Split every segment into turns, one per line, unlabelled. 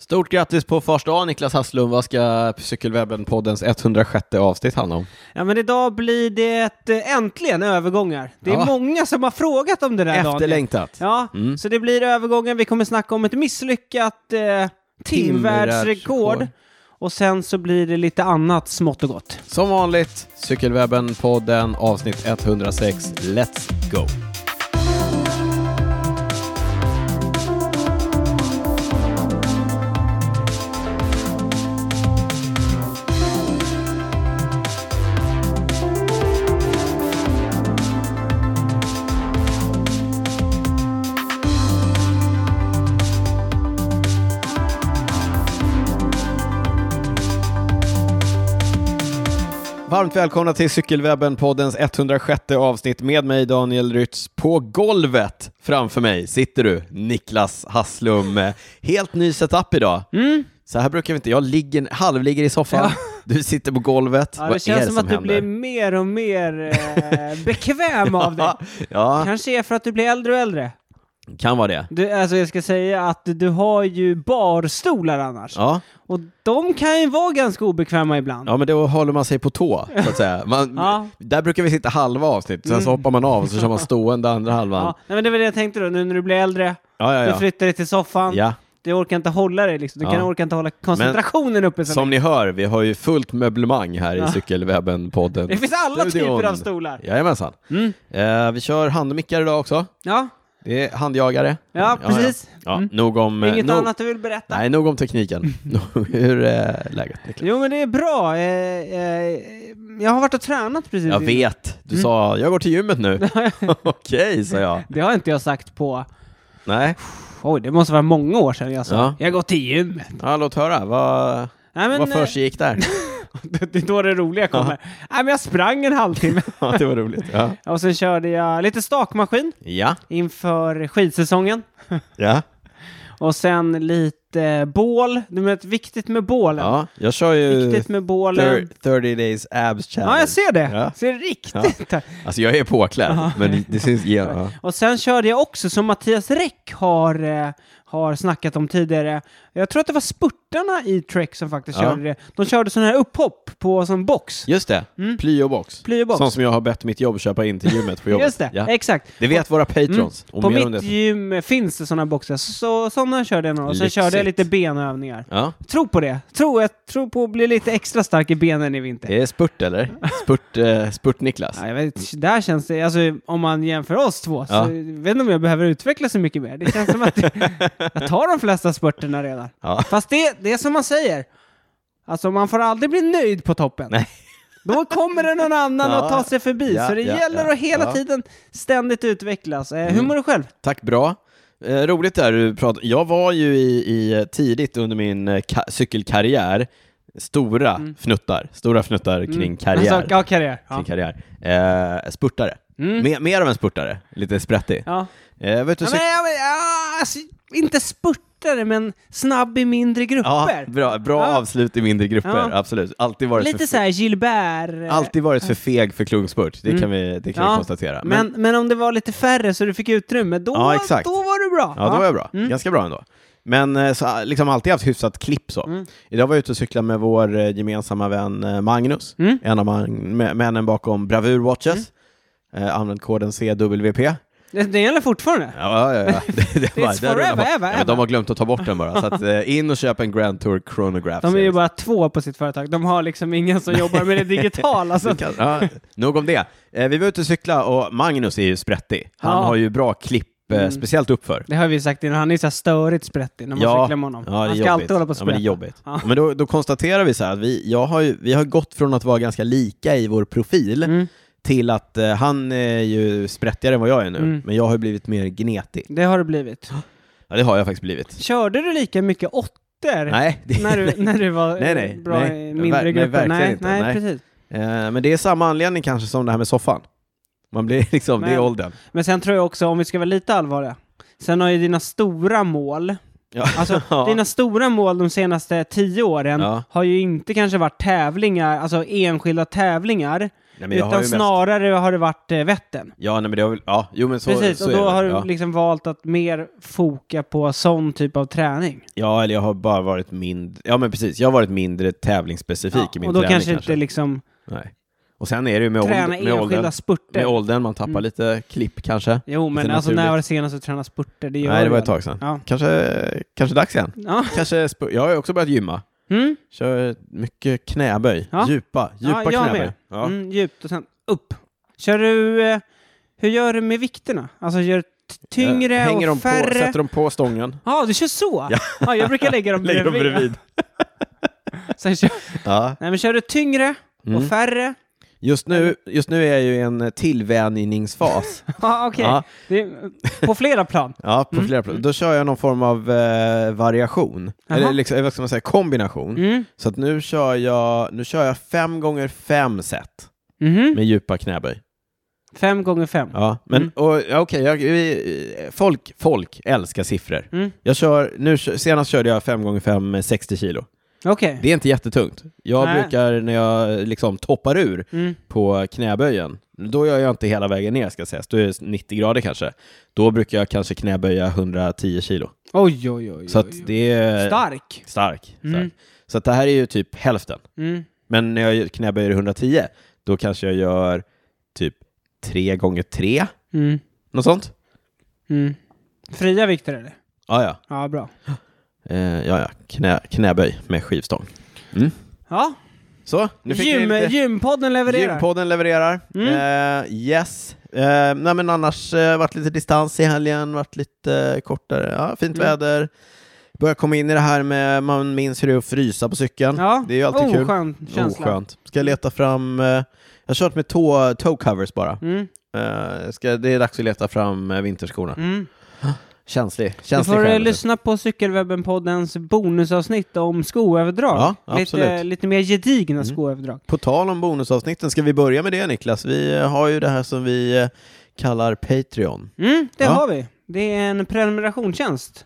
Stort grattis på första Niklas Hasslund. Vad ska Cykelwebben-poddens 106 avsnitt handla om?
Ja, men idag blir det eh, äntligen övergångar. Det är
Ja.
många som har frågat om det där Daniel.
Efterlängtat.
Ja,
Mm.
så det blir övergången. Vi kommer snacka om ett misslyckat eh, timvärldsrekord.
Timvärldsrekord.
Och sen så blir det lite annat smått och gott.
Som vanligt, Cykelwebben-podden avsnitt 106. Let's go! Varmt välkomna till Cykelwebben-poddens 106 avsnitt med mig Daniel Rytz. På golvet framför mig sitter du, Niklas Hasslum. Helt ny setup idag.
Mm.
Så här brukar vi inte, jag ligger, halvligger i soffan, du sitter på golvet.
Ja,
Vad
det känns
är det
som,
som
att du
händer?
blir mer och mer eh, bekväm av det.
Ja,
Kanske är för att du blir äldre och äldre.
kan vara det.
Du, alltså jag ska säga att du har ju barstolar annars.
Ja.
Och de kan ju vara ganska obekväma ibland.
Ja, men då håller man sig på tå, så att säga. Man,
Ja. Mm.
Där brukar vi sitta halva avsnitt, sen så hoppar man av och så kör man stående andra halvan.
Ja, nej, men det var det jag tänkte då, nu när du blir äldre.
Ja, ja,
Du
ja.
flyttar dig till soffan.
ja.
Du orkar inte hålla dig liksom. Du
Ja.
kan orkar inte hålla koncentrationen uppe. Så
Som ni hör, vi har ju fullt möblemang här i
Ja.
Cykelwebben-podden.
Det finns alla
Studion.
typer av stolar.
Jajamensan.
Mm.
Eh, vi kör handmickar idag också.
Ja,
Det är handjagare.
ja precis. Mm.
Ja. Ja, Nog om... eh,
Inget
nog-
annat du vill berätta?
Nej, nog om tekniken. Hur är läget, Niklas?
Jo, men det är bra. Eh, eh, jag har varit och tränat precis.
Jag vet.
Mm.
Du sa, jag går till gymmet nu. Okej, sa jag.
Det har inte jag sagt på...
Nej.
Oj, det måste vara många år sedan jag sa.
Ja.
Jag har gått till gymmet.
Ja, låt höra. Vad,
Nej, men,
vad
eh,
försiggick där?
det är då det roliga kommer. Nej, men jag sprang en halvtimme
ja, det var roligt. Ja.
och sen körde jag lite stakmaskin
Ja.
inför skidsäsongen.
ja.
Och sen lite bål. Det är viktigt med bålen.
ja. Jag kör ju
Viktigt med bålen.
thir- 30 days abs
Ja,
challenge.
jag ser det.
Ja.
Ser riktigt.
Alltså jag är påklädd,
Ja.
men det, det syns igenom. Ja.
Och sen körde jag också, som Mattias Räck har, eh, har snackat om tidigare, jag tror att det var spurtarna i Trek som faktiskt
Ja.
körde det. De körde sådana här upphopp på som box.
Just det,
Mm.
plyobox.
Plyobox.
Sånt som jag har bett mitt jobb köpa in till gymmet på jobbet.
Just det,
Ja.
exakt.
Det vet våra patrons. Och
På
mer om
mitt
det-
gym finns det sådana boxar, så sådana körde jag några. Och sen
Lyxigt.
körde jag lite benövningar.
Ja.
Tro på det. Tro, jag tror på att bli lite extra stark i benen i vinter.
Det är spurt eller? Spurt, eh, spurt Niklas.
Ja, jag vet, där känns det, alltså, om man jämför oss två, så
Ja.
jag vet inte om jag behöver utveckla så mycket mer. Det känns som att jag tar de flesta spurterna redan.
Ja.
Fast det, det är som man säger, alltså man får aldrig bli nöjd på toppen.
Nej.
Då kommer det någon annan
Ja.
att ta sig förbi,
Ja,
så det
ja,
gäller
ja.
att hela
Ja. Mm.
tiden ständigt utvecklas. Eh, hur mår du själv?
Tack, bra. Eh, roligt där du pratar. Jag var ju i, i tidigt under min eh, ka- cykelkarriär, stora fnuttar, stora fnuttar kring karriär.
Mm. Alltså, ja, karriär. Ja. Mm.
Kring karriär. Eh, spurtare. Mer, mer av en spurtare, lite sprättig.
Ja.
Eh, vet du,
Ja, men, ja, men, ja, alltså, inte spurtare, men snabb i mindre grupper.
bra bra
Ja.
avslut i mindre grupper,
Ja.
absolut. Alltid varit för
Lite så här Gilbert. eh,
Alltid varit för feg för klungspurt, det kan vi, det kan vi
Ja,
konstatera.
Men, men, om det var lite färre så du fick utrymme, då,
Ja, exakt.
då var du bra.
ja, då var jag bra.
Mm.
Ganska bra ändå. Men eh, så, eh, liksom alltid haft hyfsat klipp så.
Mm.
Idag var jag ute och cyklade med vår eh, gemensamma vän eh, Magnus,
Mm.
en av man- mä- männen bakom Bravur Watches.
Mm.
Eh, använt koden CWP. Ja,
Det, det gäller fortfarande.
ja, ja. ja. Det, det bara-
It's
där rullar
forever,
på.
ever,
ja, men
ever.
De har glömt att ta bort den bara. Så att, eh, in och köp en Grand Tour Chronograph.
De är
ser
ju
jag.
bara två på sitt företag. De har liksom ingen som jobbar med det digitala. Så.
Det kan- Ja, nog om det. Eh, vi var ute och cykla och Magnus är ju sprättig. Han
Ja. Mm.
har ju bra klipp, eh, speciellt uppför.
Det har vi sagt innan, han är så här störigt sprättig när man cyklar med honom.
ja, det är
han ska
jobbigt.
alltid hålla på och
ja, men det är
sprätta.
jobbigt.
Ja.
Men då, då konstaterar vi så här att vi, jag har, ju, vi har gått från att vara ganska lika i vår profil
Mm.
till att eh, han är ju sprättigare än vad jag är nu,
Mm.
men jag har ju blivit mer gnetig.
det har det blivit.
Ja, det har jag faktiskt blivit.
Körde du lika mycket åttor
Nej, det,
när, du, när du var eh,
Nej, nej,
bra
nej.
i mindre
Ver- nej,
grupper?
verkligen
nej,
inte,
nej,
nej.
precis.
eh, men det är samma anledning kanske som det här med soffan. Man blir liksom, det är
Men-
åldern.
Men sen tror jag också, om vi ska vara lite allvarliga, sen har ju dina stora mål
Ja.
Alltså,
Ja.
dina stora mål de senaste tio åren
Ja.
har ju inte kanske varit tävlingar, alltså enskilda tävlingar,
Nej, men jag
utan
har ju mest-
snarare har det varit eh, Vättern.
Ja, nej, men det har väl... Ja, jo, men så,
Precis,
så
och
är
då
det.
har du
ja.
liksom valt att mer foka på sån typ av träning.
ja, eller jag har bara varit mindre... Ja, men precis. Jag har varit mindre tävlingsspecifik i min
och då
träning
kanske
kanske.
inte liksom
Nej. Och sen är det ju med,
träna
åld, med, åldern,
enskilda Mm. spurter.
med åldern, man tappar lite klipp kanske.
Jo, men
Lite
alltså när
naturligt.
var det senast du tränade spurter? Det gör
Nej, det
du
var ett
väl.
tag sedan.
Ja. Mm.
Kanske, kanske dags igen.
Ja.
Kanske, sp- jag har ju också börjat gymma.
Mm.
Kör mycket knäböj.
Ja.
Djupa, djupa
ja, jag
knäböj.
med.
Ja.
Mm, djupt och sen upp. Kör du... Eh, hur gör du med vikterna? Alltså gör du t- tyngre
Eh, Hänger
och
de
färre?
På, sätter de på stången.
Ja, du kör så?
Ja.
Ja. jag brukar lägga dem
Lägger
bredvid.
dem bredvid.
Sen kör,
Ja.
nej, men kör du tyngre
Mm.
och färre?
Just, nu, just nu är jag ju i en eh, tillvänjningsfas.
Ja, okej.
Ja.
Det är- På flera plan.
Ja, på flera plan. Då kör jag någon form av eh, variation.
Jaha.
Eller liksom, vad ska man säga, kombination.
Mm.
Så att nu kör jag, nu kör jag fem gånger fem set
Mhm.
med djupa knäböj.
Fem gånger fem.
Ja, men
Mm.
och, ja, okej, jag, vi- folk, folk älskar siffror.
Mm.
Jag kör, nu, kö- senast körde jag fem gånger fem med 60 kilo.
Okej.
Det är inte jättetungt. Jag
Nej.
brukar, när jag liksom toppar ur
Mm.
på knäböjen, då gör jag inte hela vägen ner ska sägas, då är det 90 grader kanske. Då brukar jag kanske knäböja 110 kilo.
Oj, oj, oj.
Så
oj,
att
oj.
det är...
Stark.
Stark. stark.
Mm.
Så att det här är ju typ hälften.
Mm.
Men när jag knäböjer 110, då kanske jag gör typ 3 gånger 3
Mm.
något sånt.
Mm. Fria vikter eller?
Ja, ja.
Ja, bra.
Eh, ja, ja. Knä, knäböj med skivstång.
Ja,
Så, nu fick ni
Gym,
lite...
gympodden levererar. Mm.
Gympodden levererar. Eh, yes. Eh, nej, men annars eh, varit lite distans i helgen, varit lite eh, kortare. Ja, fint
Mm.
väder. Börjar komma in i det här med, man minns hur det är att frysa på cykeln.
Ja.
Det är ju alltid kul.
Oskön känsla.
Oskönt. Ska jag leta fram, eh, jag har kört med tå, toe covers bara.
Mm.
Eh, ska, det är dags att leta fram eh, vinterskorna.
Mm.
Känslig,
Du
känslig
får eh,
själ.
lyssna på Cykelwebben-poddens bonusavsnitt om skoöverdrag.
Ja,
lite,
absolut. Mm.
lite mer gedigna skoöverdrag.
På tal om bonusavsnitten, ska vi börja med det Niklas? Vi eh, har ju det här som vi eh, kallar Patreon.
Mm, det
Ja.
har vi. Det är en prenumerationstjänst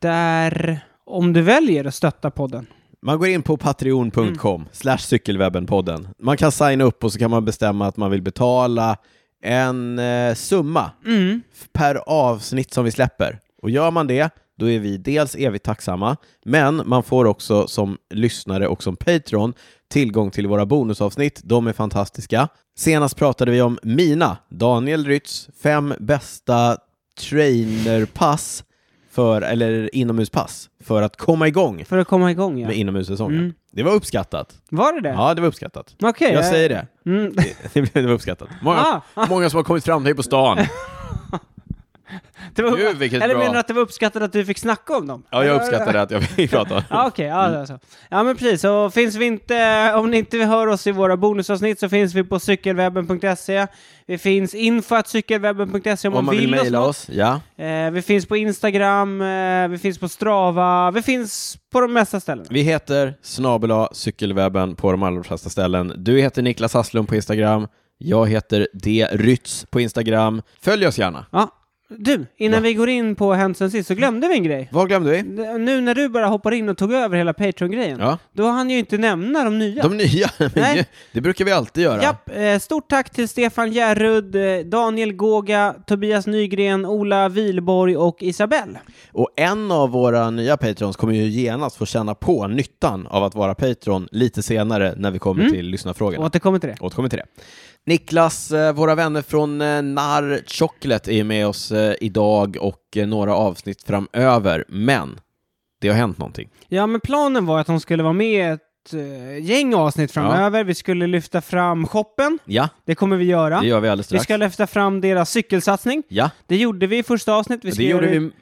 där, om du väljer att stötta podden,
Man går in på patreon.com slash cykelwebbenpodden. Man kan signa upp och så kan man bestämma att man vill betala en eh, summa
mm.
f- per avsnitt som vi släpper. Och gör man det, då är vi dels evigt tacksamma, men man får också som lyssnare och som Patreon tillgång till våra bonusavsnitt. De är fantastiska. Senast pratade vi om mina, Daniel Rytz, fem bästa trainerpass för, eller inomhuspass för att komma igång
för att komma igång. Ja.
med inomhussäsongen.
Mm.
Det var uppskattat.
Var det det?
Ja, det var uppskattat.
Okej.
Jag säger det.
Mm.
Det var uppskattat. Många,
Ah, ah.
många som har kommit fram till mig på stan.
Det var,
Gud, vilket
eller
bra.
menar du att det var uppskattat att du fick snacka om dem?
Ja, jag uppskattar att jag fick prata.
Ja, okej. Ja,
Mm.
det var så. ja, men precis. Så finns vi inte, om ni inte hör oss i våra bonusavsnitt så finns vi på cykelwebben.se. Vi finns info.cykelwebben.se om,
Om man vill
oss
mejla
något.
oss, ja.
Eh, vi finns på Instagram, eh, vi finns på Strava, vi finns på de mesta ställena.
Vi heter snabel cykelwebben på de allra flesta ställen. Du heter Niklas Hasslund på Instagram. Jag heter D. Rytz på Instagram. Följ oss gärna.
Ja. Du, innan vi går in på Hänt sen sist så glömde vi en grej.
Vad glömde vi?
D- Nu när du bara hoppar in och tog över hela Patreon-grejen,
Ja.
då hann jag ju inte nämna de nya.
De nya. Men
Nej.
ju- Det brukar vi alltid göra.
Japp, eh, stort tack till Stefan Järrud, eh, Daniel Gåga, Tobias Nygren, Ola Vilborg och Isabelle.
Och en av våra nya patrons kommer ju genast få känna på nyttan av att vara patron lite senare när vi kommer
Mm.
till lyssnarfrågorna.
Återkommer till det.
Återkommer till det. Niklas, eh, våra vänner från eh, Narr Chocolate är ju med oss eh, idag och eh, några avsnitt framöver, men det har hänt någonting.
Ja, men planen var att de skulle vara med i ett eh, gäng avsnitt framöver. Vi skulle lyfta fram shoppen.
Ja,
Det kommer vi göra.
det gör vi alldeles
vi
strax.
ska lyfta fram deras cykelsatsning.
Ja,
Det gjorde vi i första avsnitt. Vi ska
det gjorde
göra-
vi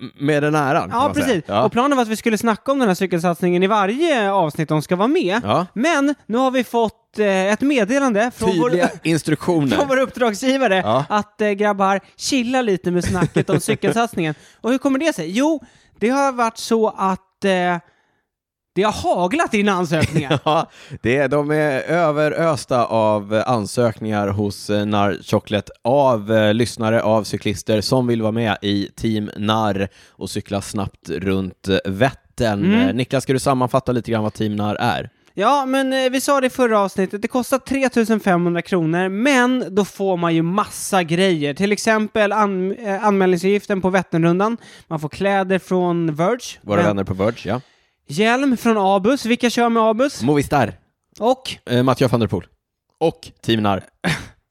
m- med den äran. kan
Ja,
man säga.
precis.
Ja.
Och planen var att vi skulle snacka om den här cykelsatsningen i varje avsnitt de ska vara med.
Ja.
Men nu har vi fått eh, ett meddelande från vår,
Tydliga
från
instruktioner.
vår uppdragsgivare
Ja.
att eh, grabbar, chilla lite med snacket om cykelsatsningen. Och hur kommer det sig? Jo, det har varit så att eh, det har haglat in ansökningar.
Ja, det är, de är överösta av eh, ansökningar hos eh, Narr Chocolate av eh, lyssnare, av cyklister som vill vara med i Team Narr och cykla snabbt runt eh, Vättern. Eh, Niklas, ska du sammanfatta lite grann vad Team Narr är?
Ja, men eh, vi sa det i förra avsnittet, det kostar 3500 kronor, men då får man ju massa grejer. Till exempel an, eh, anmälningsavgiften på Vätternrundan, man får kläder från Verge,
Våra
men-
vänner på Verge, ja.
hjälm från Abus, vilka kör med Abus?
Movistar,
Och,
eh, Mathieu van der Poel. Och Team Nar.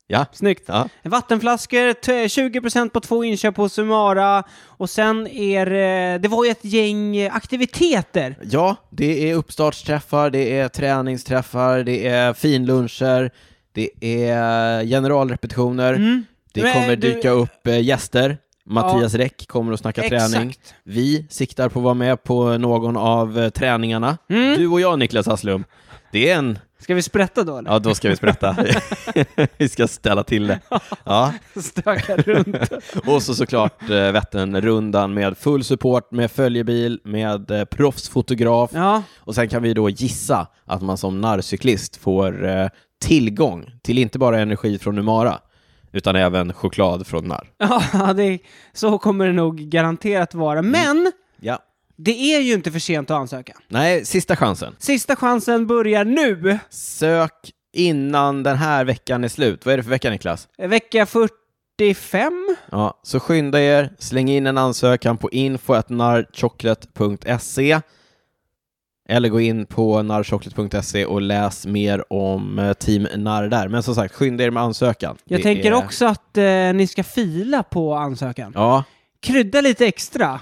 Ja.
snyggt,
ja.
vattenflaskor, t- 20% på två inköp på Sumara, och sen är det, det var ju ett gäng eh, aktiviteter.
Ja, det är uppstartsträffar, det är träningsträffar, det är finluncher, det är generalrepetitioner, det
Mm. Men
kommer
du-
dyka upp eh, gäster, Mattias Räck kommer att snacka
Exakt.
träning. Vi siktar på att vara med på någon av eh, träningarna.
Mm.
Du och jag, Niklas Hasslum. Det är en...
Ska vi sprätta då eller?
Ja, då ska vi sprätta. vi ska ställa till det. Ja.
Stöka runt.
Och så såklart eh, Vätternrundan med full support, med följebil, med eh, proffsfotograf.
Ja,
Och sen kan vi då gissa att man som narrcyklist får eh, tillgång till inte bara energi från Numara, utan även choklad från narr.
ja det, så kommer det nog garanterat vara.
Mm.
Men
Ja.
det är ju inte för sent att ansöka.
Nej, sista chansen.
Sista chansen börjar nu.
Sök innan den här veckan är slut. Vad är det för vecka, Niklas?
Vecka 45.
Ja, så skynda er, släng in en ansökan på info.narrchocolate.se eller gå in på narrchocolate.se och läs mer om eh, Team Narr där. Men som sagt, skynda er med ansökan.
Jag
Det
tänker
är-
också att eh, ni ska fila på ansökan.
Ja,
Krydda lite extra.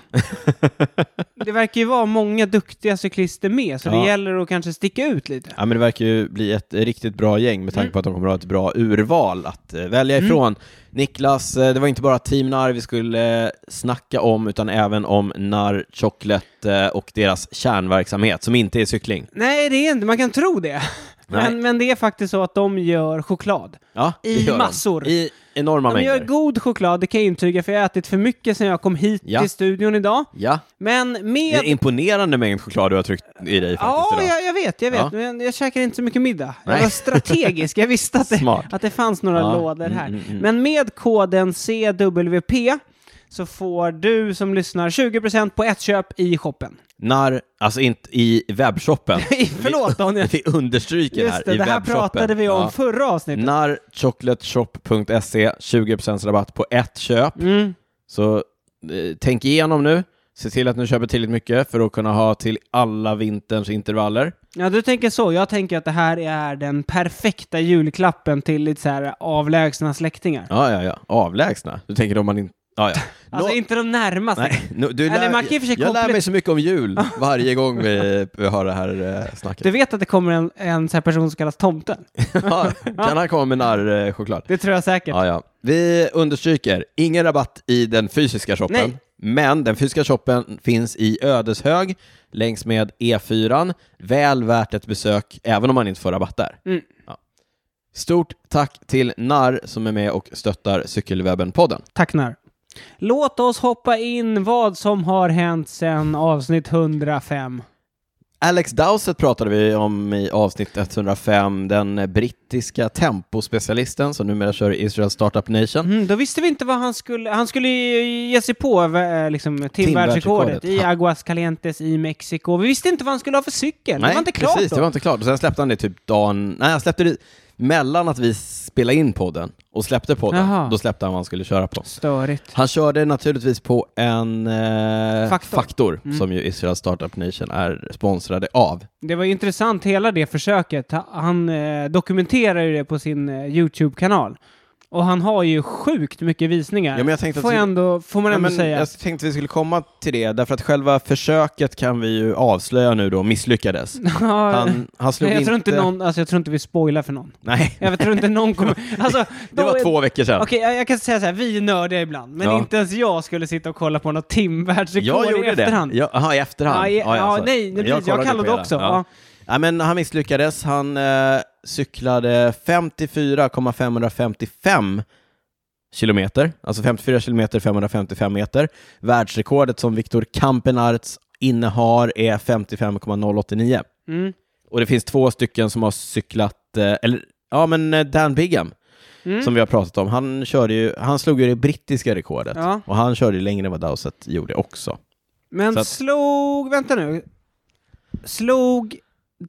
det verkar ju vara många duktiga cyklister med, så
Ja.
det gäller att kanske sticka ut lite.
Ja, men det verkar ju bli ett riktigt bra gäng med tanke på att de kommer att ha ett bra urval att eh, välja
Mm.
ifrån. Niklas, eh, det var inte bara Team Narr vi skulle eh, snacka om, utan även om Narr Chocolate eh, och deras kärnverksamhet, som inte är cykling.
Nej, det är inte. Man kan tro det.
Nej.
Men, men det är faktiskt så att de gör choklad.
Ja, det
I
gör de.
massor.
I enorma
De
mängder.
gör god choklad, det kan jag intyga, för jag har ätit för mycket sedan jag kom hit
Ja.
till studion idag.
ja,
Men
det är
med...
en imponerande mängd choklad du har tryckt i dig faktiskt
Ja,
idag.
jag, jag vet, jag vet.
Ja.
Men jag käkar inte så mycket middag. Jag
Nej.
var strategisk, jag visste att det,
Smart.
att det fanns några
Ja.
lådor här.
Mm, mm, mm.
Men med koden CWP så får du som lyssnar 20% på ett köp i shoppen.
Narr, alltså inte i webbshoppen.
Förlåt Daniel!
Vi understryker
Just det,
i
det här
webbshoppen.
pratade vi om
Ja.
förra avsnittet.
narrchocolateshop.se 20% E, rabatt på ett köp.
Mm.
Så eh, tänk igenom nu. Se till att ni köper tillräckligt mycket för att kunna ha till alla vinterns intervaller.
Ja, du tänker så. Jag tänker att det här är den perfekta julklappen till lite så här avlägsna släktingar.
Ja, ja, ja. Avlägsna. Du tänker om man inte... Ja, ja.
Alltså
Nå-
inte de närmaste.
Nej, nå- du
Eller man
lär,
kan ju för sig
jag lär
komplett-
mig så mycket om jul varje gång vi, vi har det här eh, snacket.
Du vet att det kommer en, en sån här person som kallas Tomten?
Ja, kan han komma med eh, narrchoklad?
Det tror jag säkert.
Ja, ja. Vi understryker, ingen rabatt i den fysiska shoppen.
Nej.
Men den fysiska shoppen finns i Ödeshög längs med E4. Väl värt ett besök, även om man inte får rabatt där.
Mm.
Ja. Stort tack till Narr som är med och stöttar Cykelwebben-podden.
Tack när. Låt oss hoppa in vad som har hänt sedan avsnitt 105.
Alex Dowsett pratade vi om i avsnitt 105, den brittiska tempospecialisten som numera kör i Israel Startup Nation.
Mm, då visste vi inte vad han skulle... Han skulle ju ge sig på eh, liksom,
Timvärldsrekordet,
timvärldsrekordet i
ja.
Aguascalientes i Mexiko. Vi visste inte vad han skulle ha för cykel. det var inte klart
precis,
då.
det var inte klart. Och sen släppte han det typ dagen... Nej, han släppte det mellan att vi spelade in podden och släppte podden.
Jaha.
Då släppte han vad han skulle köra på.
Störigt.
Han körde naturligtvis på en eh,
Faktor. Mm.
som ju Israel Startup Nation är sponsrade av.
Det var ju intressant, hela det försöket. Ha- Han eh, dokumenterar ju det på sin eh, YouTube-kanal. Och han har ju sjukt mycket visningar.
Ja, men jag tänkte att
får,
vi-
jag ändå, får man
Ja,
ändå
men
säga.
Jag tänkte vi skulle komma till det, därför att själva försöket kan vi ju avslöja nu då misslyckades.
Ja,
Han, han slog
jag, tror inte
inte
någon, alltså, jag tror inte vi spoilar för någon.
Nej,
Jag tror inte någon kommer... Alltså,
det
då-
var två veckor sedan.
Okej, jag, jag kan säga så här, vi är nördiga ibland, men
Ja.
inte ens jag skulle sitta och kolla på något timvärldsrekord
Jag
i
gjorde
efterhand.
det. Ja, Jaha, i efterhand.
Ja, i- ja,
sorry.
nej, nej, precis. Jag
kollade
kallade
på hela.
också. Ja.
Nej, men han misslyckades. Han eh, cyklade 54,555 kilometer, alltså 54 kilometer 555 meter. Världsrekordet som Viktor Kampenarts innehar är 55,089.
Mm.
Och det finns två stycken som har cyklat, eh, eller ja, men eh, Dan Bigham,
Mm.
som vi har pratat om, han, körde ju, han slog ju det brittiska rekordet.
Ja.
Och han körde ju längre än vad Dowsett gjorde också.
Men
Så att-
slog, vänta nu, slog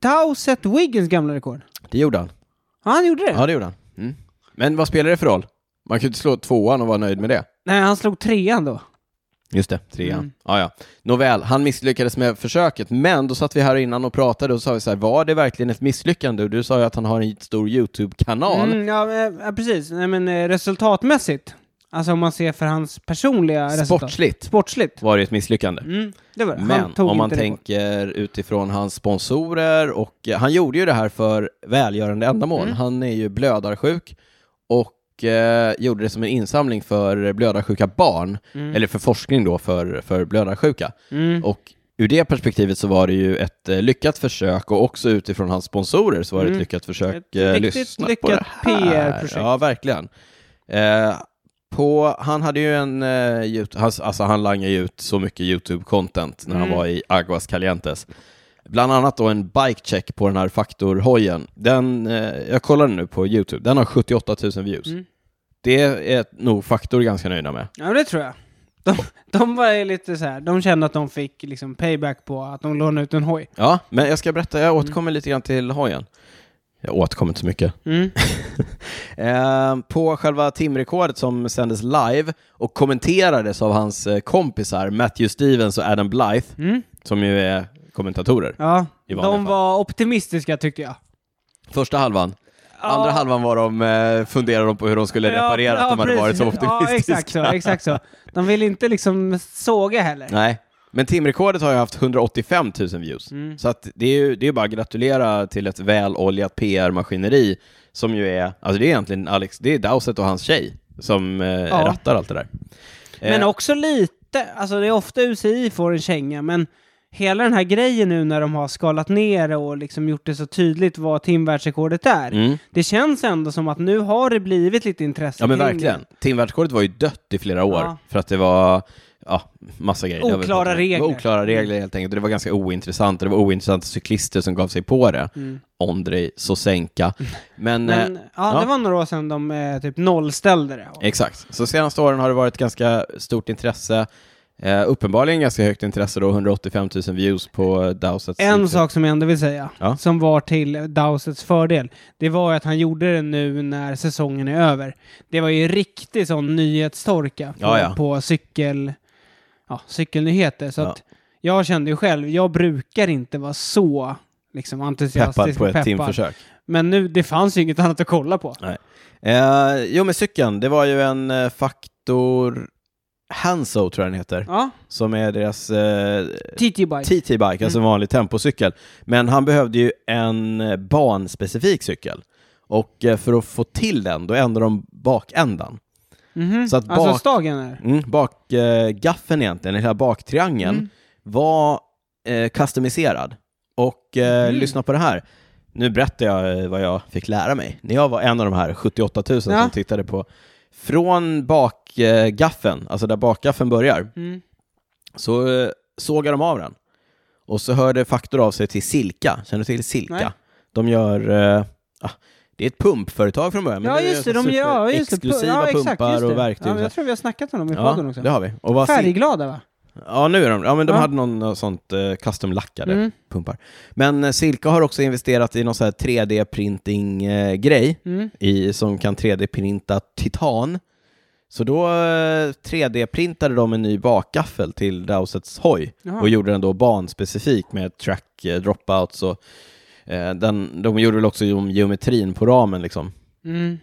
Dow sett Wiggins gamla rekord?
Det gjorde han.
Ja, han gjorde det.
Ja, det gjorde han. Mm. Men vad spelar det för roll? Man kan ju inte slå tvåan och vara nöjd med det.
Nej, han slog trean då.
Just det, trean. Ja, ja. Nåväl, han misslyckades med försöket, men då satt vi här innan och pratade och sa vi så här, var det verkligen ett misslyckande? Och du sa ju att han har en stor YouTube-kanal.
Mm, ja, men, ja, precis. Nej, men eh, resultatmässigt. Alltså om man ser för hans personliga resultat.
Sportsligt
Sportsligt.
var det ett misslyckande.
Mm, det var det. han
Men
tog
om man
inte det.
tänker utifrån hans sponsorer och eh, han gjorde ju det här för välgörande ändamål.
Mm.
Han är ju blödarsjuk och eh, gjorde det som en insamling för blödarsjuka barn, eller för forskning då för, för blödarsjuka.
Mm.
Och ur det perspektivet så var det ju ett eh, lyckat försök och också utifrån hans sponsorer så var det ett
Mm.
lyckat försök.
Ett
eh,
riktigt
lyssna
lyckat
på det här.
PR-projekt.
Ja, verkligen. Eh, på, han hade ju en eh, YouTube, han, alltså han langade ju ut så mycket YouTube-content när han
Mm.
var i Aguas Calientes. Bland annat då en bikecheck på den här faktorhojen. Den, eh, jag kollade nu på YouTube, den har 78 000 views.
Mm.
Det är nog faktor ganska nöjda med.
Ja, det tror jag. De, de var ju lite så här, de kände att de fick liksom payback på att de lånade ut en hoj.
Ja, men jag ska berätta, jag återkommer lite grann till hojen. Jag återkommer inte så mycket.
Mm.
Eh, på själva timrekordet som sändes live och kommenterades av hans eh, kompisar Matthew Stevens och Adam Blythe,
Mm.
som ju är kommentatorer.
Ja,
I
de
vanliga fall.
var optimistiska tyckte jag.
Första halvan. Andra halvan var de, eh, funderade de på hur de skulle reparera att de hade varit så
precis. Ja,
optimistiska.
exakt så, exakt så. De vill inte liksom såga heller.
Nej. Men timrekordet har ju haft 185 000 views.
Mm.
Så att det är ju det är bara att gratulera till ett väloljat PR-maskineri som ju är, alltså det är egentligen Alex, det är Dowsett och hans tjej som eh, rattar allt det där.
Men
Eh,
också lite, alltså det är ofta UCI får en känga, men hela den här grejen nu när de har skalat ner det och liksom gjort det så tydligt vad timvärldsrekordet är.
mm.
Det känns ändå som att nu har det blivit lite intresse
Ja men
kring
verkligen. Timvärldsrekordet var ju dött i flera år
Ja.
för att det var ja, massa grejer.
Oklara
Det var- Det var
regler.
oklara regler helt enkelt. Och Det var ganska ointressant. och Det var ointressanta cyklister som gav sig på det.
det. Mm.
Ondrej Sosenka. Men,
Men
eh,
ja,
ja.
det var några år sedan de eh, typ nollställde det.
exakt. Så senaste åren har det varit ganska stort intresse. Eh, uppenbarligen ganska högt intresse då, 185 000 views på Dowsets
En
YouTube.
sak som jag ändå vill säga,
Ja.
som var till Dowsets fördel, det var ju att han gjorde det nu när säsongen är över. Det var ju riktig sån nyhetstorka på,
Ja, ja.
på cykel, ja, cykelnyheter. Så
Ja.
att jag kände ju själv, jag brukar inte vara så liksom,
Peppad
entusiastisk
på
och
ett timförsök.
Men nu, det fanns ju inget annat att kolla på.
Eh, jo, men cykeln, det var ju en eh, faktor Hanso tror jag den heter,
Ja,
som är deras eh,
TT-bike.
TT-bike,
Mm.
alltså en vanlig tempocykel. Men han behövde ju en eh, banspecifik cykel. Och eh, för att få till den, då ändrade de bakändan.
Mhm.
Så att
Alltså
bak-
stagen är.
Mm, bakgaffeln egentligen, eller hela baktriangeln,
Mm.
var eh, customiserad. Och eh,
Mm.
lyssna på det här. Nu berättar jag eh, vad jag fick lära mig. När jag var en av de här 78 000
Ja.
som tittade på, från bakgaffeln, eh, gaffeln, alltså där bakgaffeln börjar,
Mm.
så eh, sågar de av den. Och så hörde Faktor av sig till Silka. Känner du till Silka?
Nej.
De gör... eh, ah, det är ett pumpföretag från början. men
Ja,
det är
just det. De
super-
gör, ja, just det. Pu-
Exklusiva
ja, exakt,
pumpar
just det.
och verktyg.
Ja,
och
men
så
jag tror vi har snackat om dem i
här.
podden också.
det har vi. Och vad Sil-
Färgglada va?
ja, nu är de... Ja, men de
Ja.
hade någon eh, sånt eh, custom-lackade
Mm.
pumpar. Men eh, Silka har också investerat i någon sån här 3D-printing-grej
Mm.
i, som kan 3D-printa titan. Så då eh, 3D-printade de en ny bakgaffel till Dowsets hoj
Jaha.
och gjorde den då banspecifik med track eh, dropouts och eh, den, de gjorde väl också om geometrin på ramen liksom.
Mm.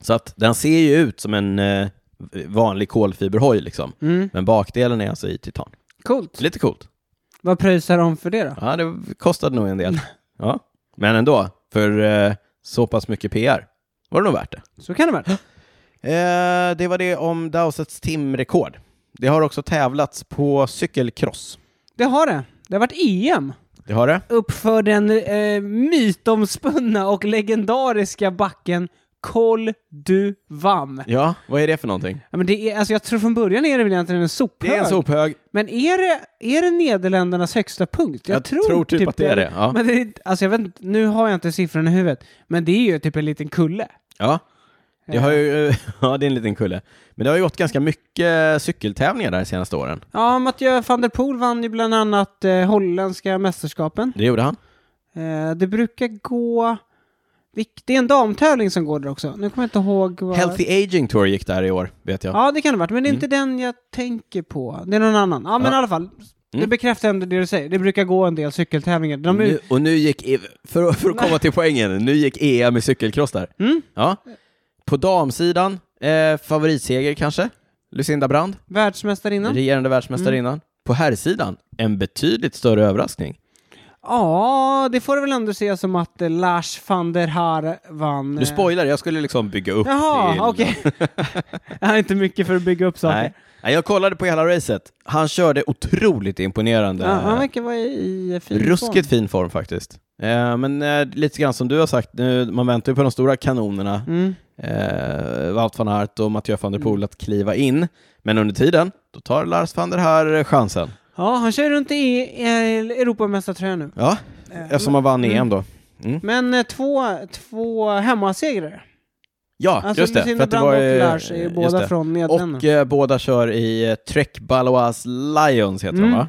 Så att den ser ju ut som en eh, vanlig kolfiberhoj liksom.
Mm.
Men bakdelen är alltså i titan.
Coolt.
Så lite coolt.
Vad pröjsar de för det då?
Ja, det kostade nog en del. Ja. Men ändå, för eh, så pass mycket PR var det nog värt det.
Så kan det vara.
Eh, det var det om Dowsets timrekord. Det har också tävlats på cykelcross.
Det har det. Det har varit EM.
Det har det?
Uppför den eh, mytomspunna och legendariska backen Kol du Vam.
Ja, vad är det för någonting?
Ja, men det är, alltså jag tror från början är det väl egentligen en
Det
sophög.
är en sophög.
Men är det, är det Nederländernas högsta punkt? Jag,
Jag tror typ att det är det, ja.
Men det är, alltså jag vet, inte- nu har jag inte siffrorna i huvudet, men det är ju typ en liten kulle.
Ja. Det har ju, eh, ja, det är en liten kulle. Men det har ju gått ganska mycket cykeltävlingar där de senaste åren.
Ja, Mathieu van der Poel vann ju bland annat eh, holländska mästerskapen.
Det gjorde han.
Eh, Eh, det brukar gå... vilk- Det är en damtävling som går där också. Nu kommer jag inte ihåg vad...
Healthy Aging Tour gick där i år, vet jag.
Ja, det kan det ha varit, men det är inte den jag tänker på. Det är någon annan. Ja, men
Ja. Mm.
i alla fall. Det bekräftar ändå det du säger. Det brukar gå en del cykeltävlingar. De är...
Nu, och nu gick, E- för, för att komma till poängen, nu gick EM i cykelcross där.
Mm.
Ja. På damsidan, eh, favoritseger kanske? Lucinda Brand,
Världsmästarinnan?
regerande världsmästarinnan.
Mm.
På herrsidan, en betydligt större överraskning.
Ja, det får du väl ändå se som att eh, Lars van der Haar vann. eh,
Du spoilar, jag skulle liksom bygga upp till...
Jaha, okej. jag har inte mycket för att bygga upp saker.
Nej. Nej, jag kollade på hela racet. Han körde otroligt imponerande.
Ja, han verkar vara i i fin
Ruskigt
form.
fin form faktiskt. Eh, men eh, lite grann som du har sagt, nu, man väntar ju på de stora kanonerna,
Mm.
eh, Wout van Aert och Mathieu van der Poel, att kliva in. Men under tiden, då tar Lars van der Haar chansen.
Ja, han kör runt i eh, Europamästartröja nu.
Ja, eftersom han vann
Mm.
EM då.
Men eh, två, två hemmasegrare.
Ja,
Alltså
just det.
Lucinda
det
Brand och
ju-
Lars är ju
just
båda
det.
från Nederländerna.
Och eh, båda kör i eh, Trek Balois Lions, heter de
Mm.
va?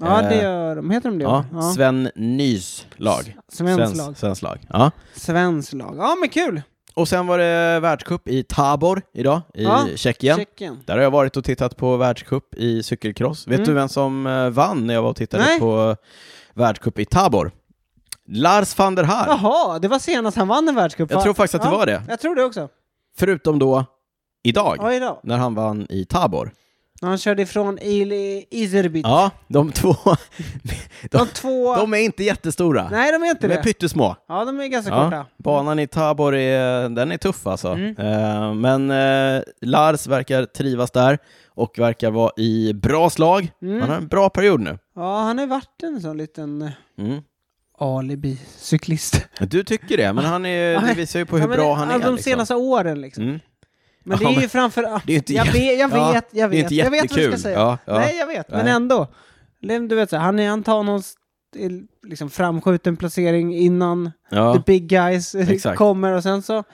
Ja, det
eh,
gör de. Heter de det?
Ja, Sven Nys lag.
Svenskt
Svens-
lag.
Svenskt lag. Ja.
Svenskt lag. Ja, men kul!
Och sen var det världscup i Tabor idag, i
Ja,
Tjeckien.
Tjeckien.
Där har jag varit och tittat på världscup i cykelcross. Vet
Mm.
du vem som eh, vann när jag var och tittade
Nej.
på världscup i Tabor? Lars van der Haar.
Jaha, det var senast han vann en världscup.
Jag
va?
tror faktiskt att det
Ja,
var det.
Jag tror det också.
Förutom då idag,
Ja, idag.
när han vann i Tabor.
När han körde ifrån Il- Izerbit.
Ja, de två,
De två...
de är inte jättestora.
Nej, de är inte
de är
det.
pyttesmå.
Ja, de är ganska korta.
Ja, banan i Tabor är, den är tuff alltså.
Mm.
Eh, men eh, Lars verkar trivas där och verkar vara i bra slag.
Mm.
Han har en bra period nu.
Ja, han har varit en sån liten eh,
Mm.
alibi-cyklist.
Du tycker det, men han är, det visar ju på hur
Ah. Ja, men
bra
det-
han är.
alltså, De
liksom.
senaste åren liksom.
Mm.
Men
Ja,
det är ju
men-
framför...
det är ju inte
jag,
jä-
vet, jag
Ja,
vet, jag
det är
vet.
inte
jag vet vad du ska
jättekul.
säga.
Ja, ja.
Nej, jag vet, men
Nej.
ändå. Du vet, så här, han, är- han tar någon s- till- liksom, framskjuten placering innan
Ja.
the big guys eh,
Exakt.
kommer och sen så,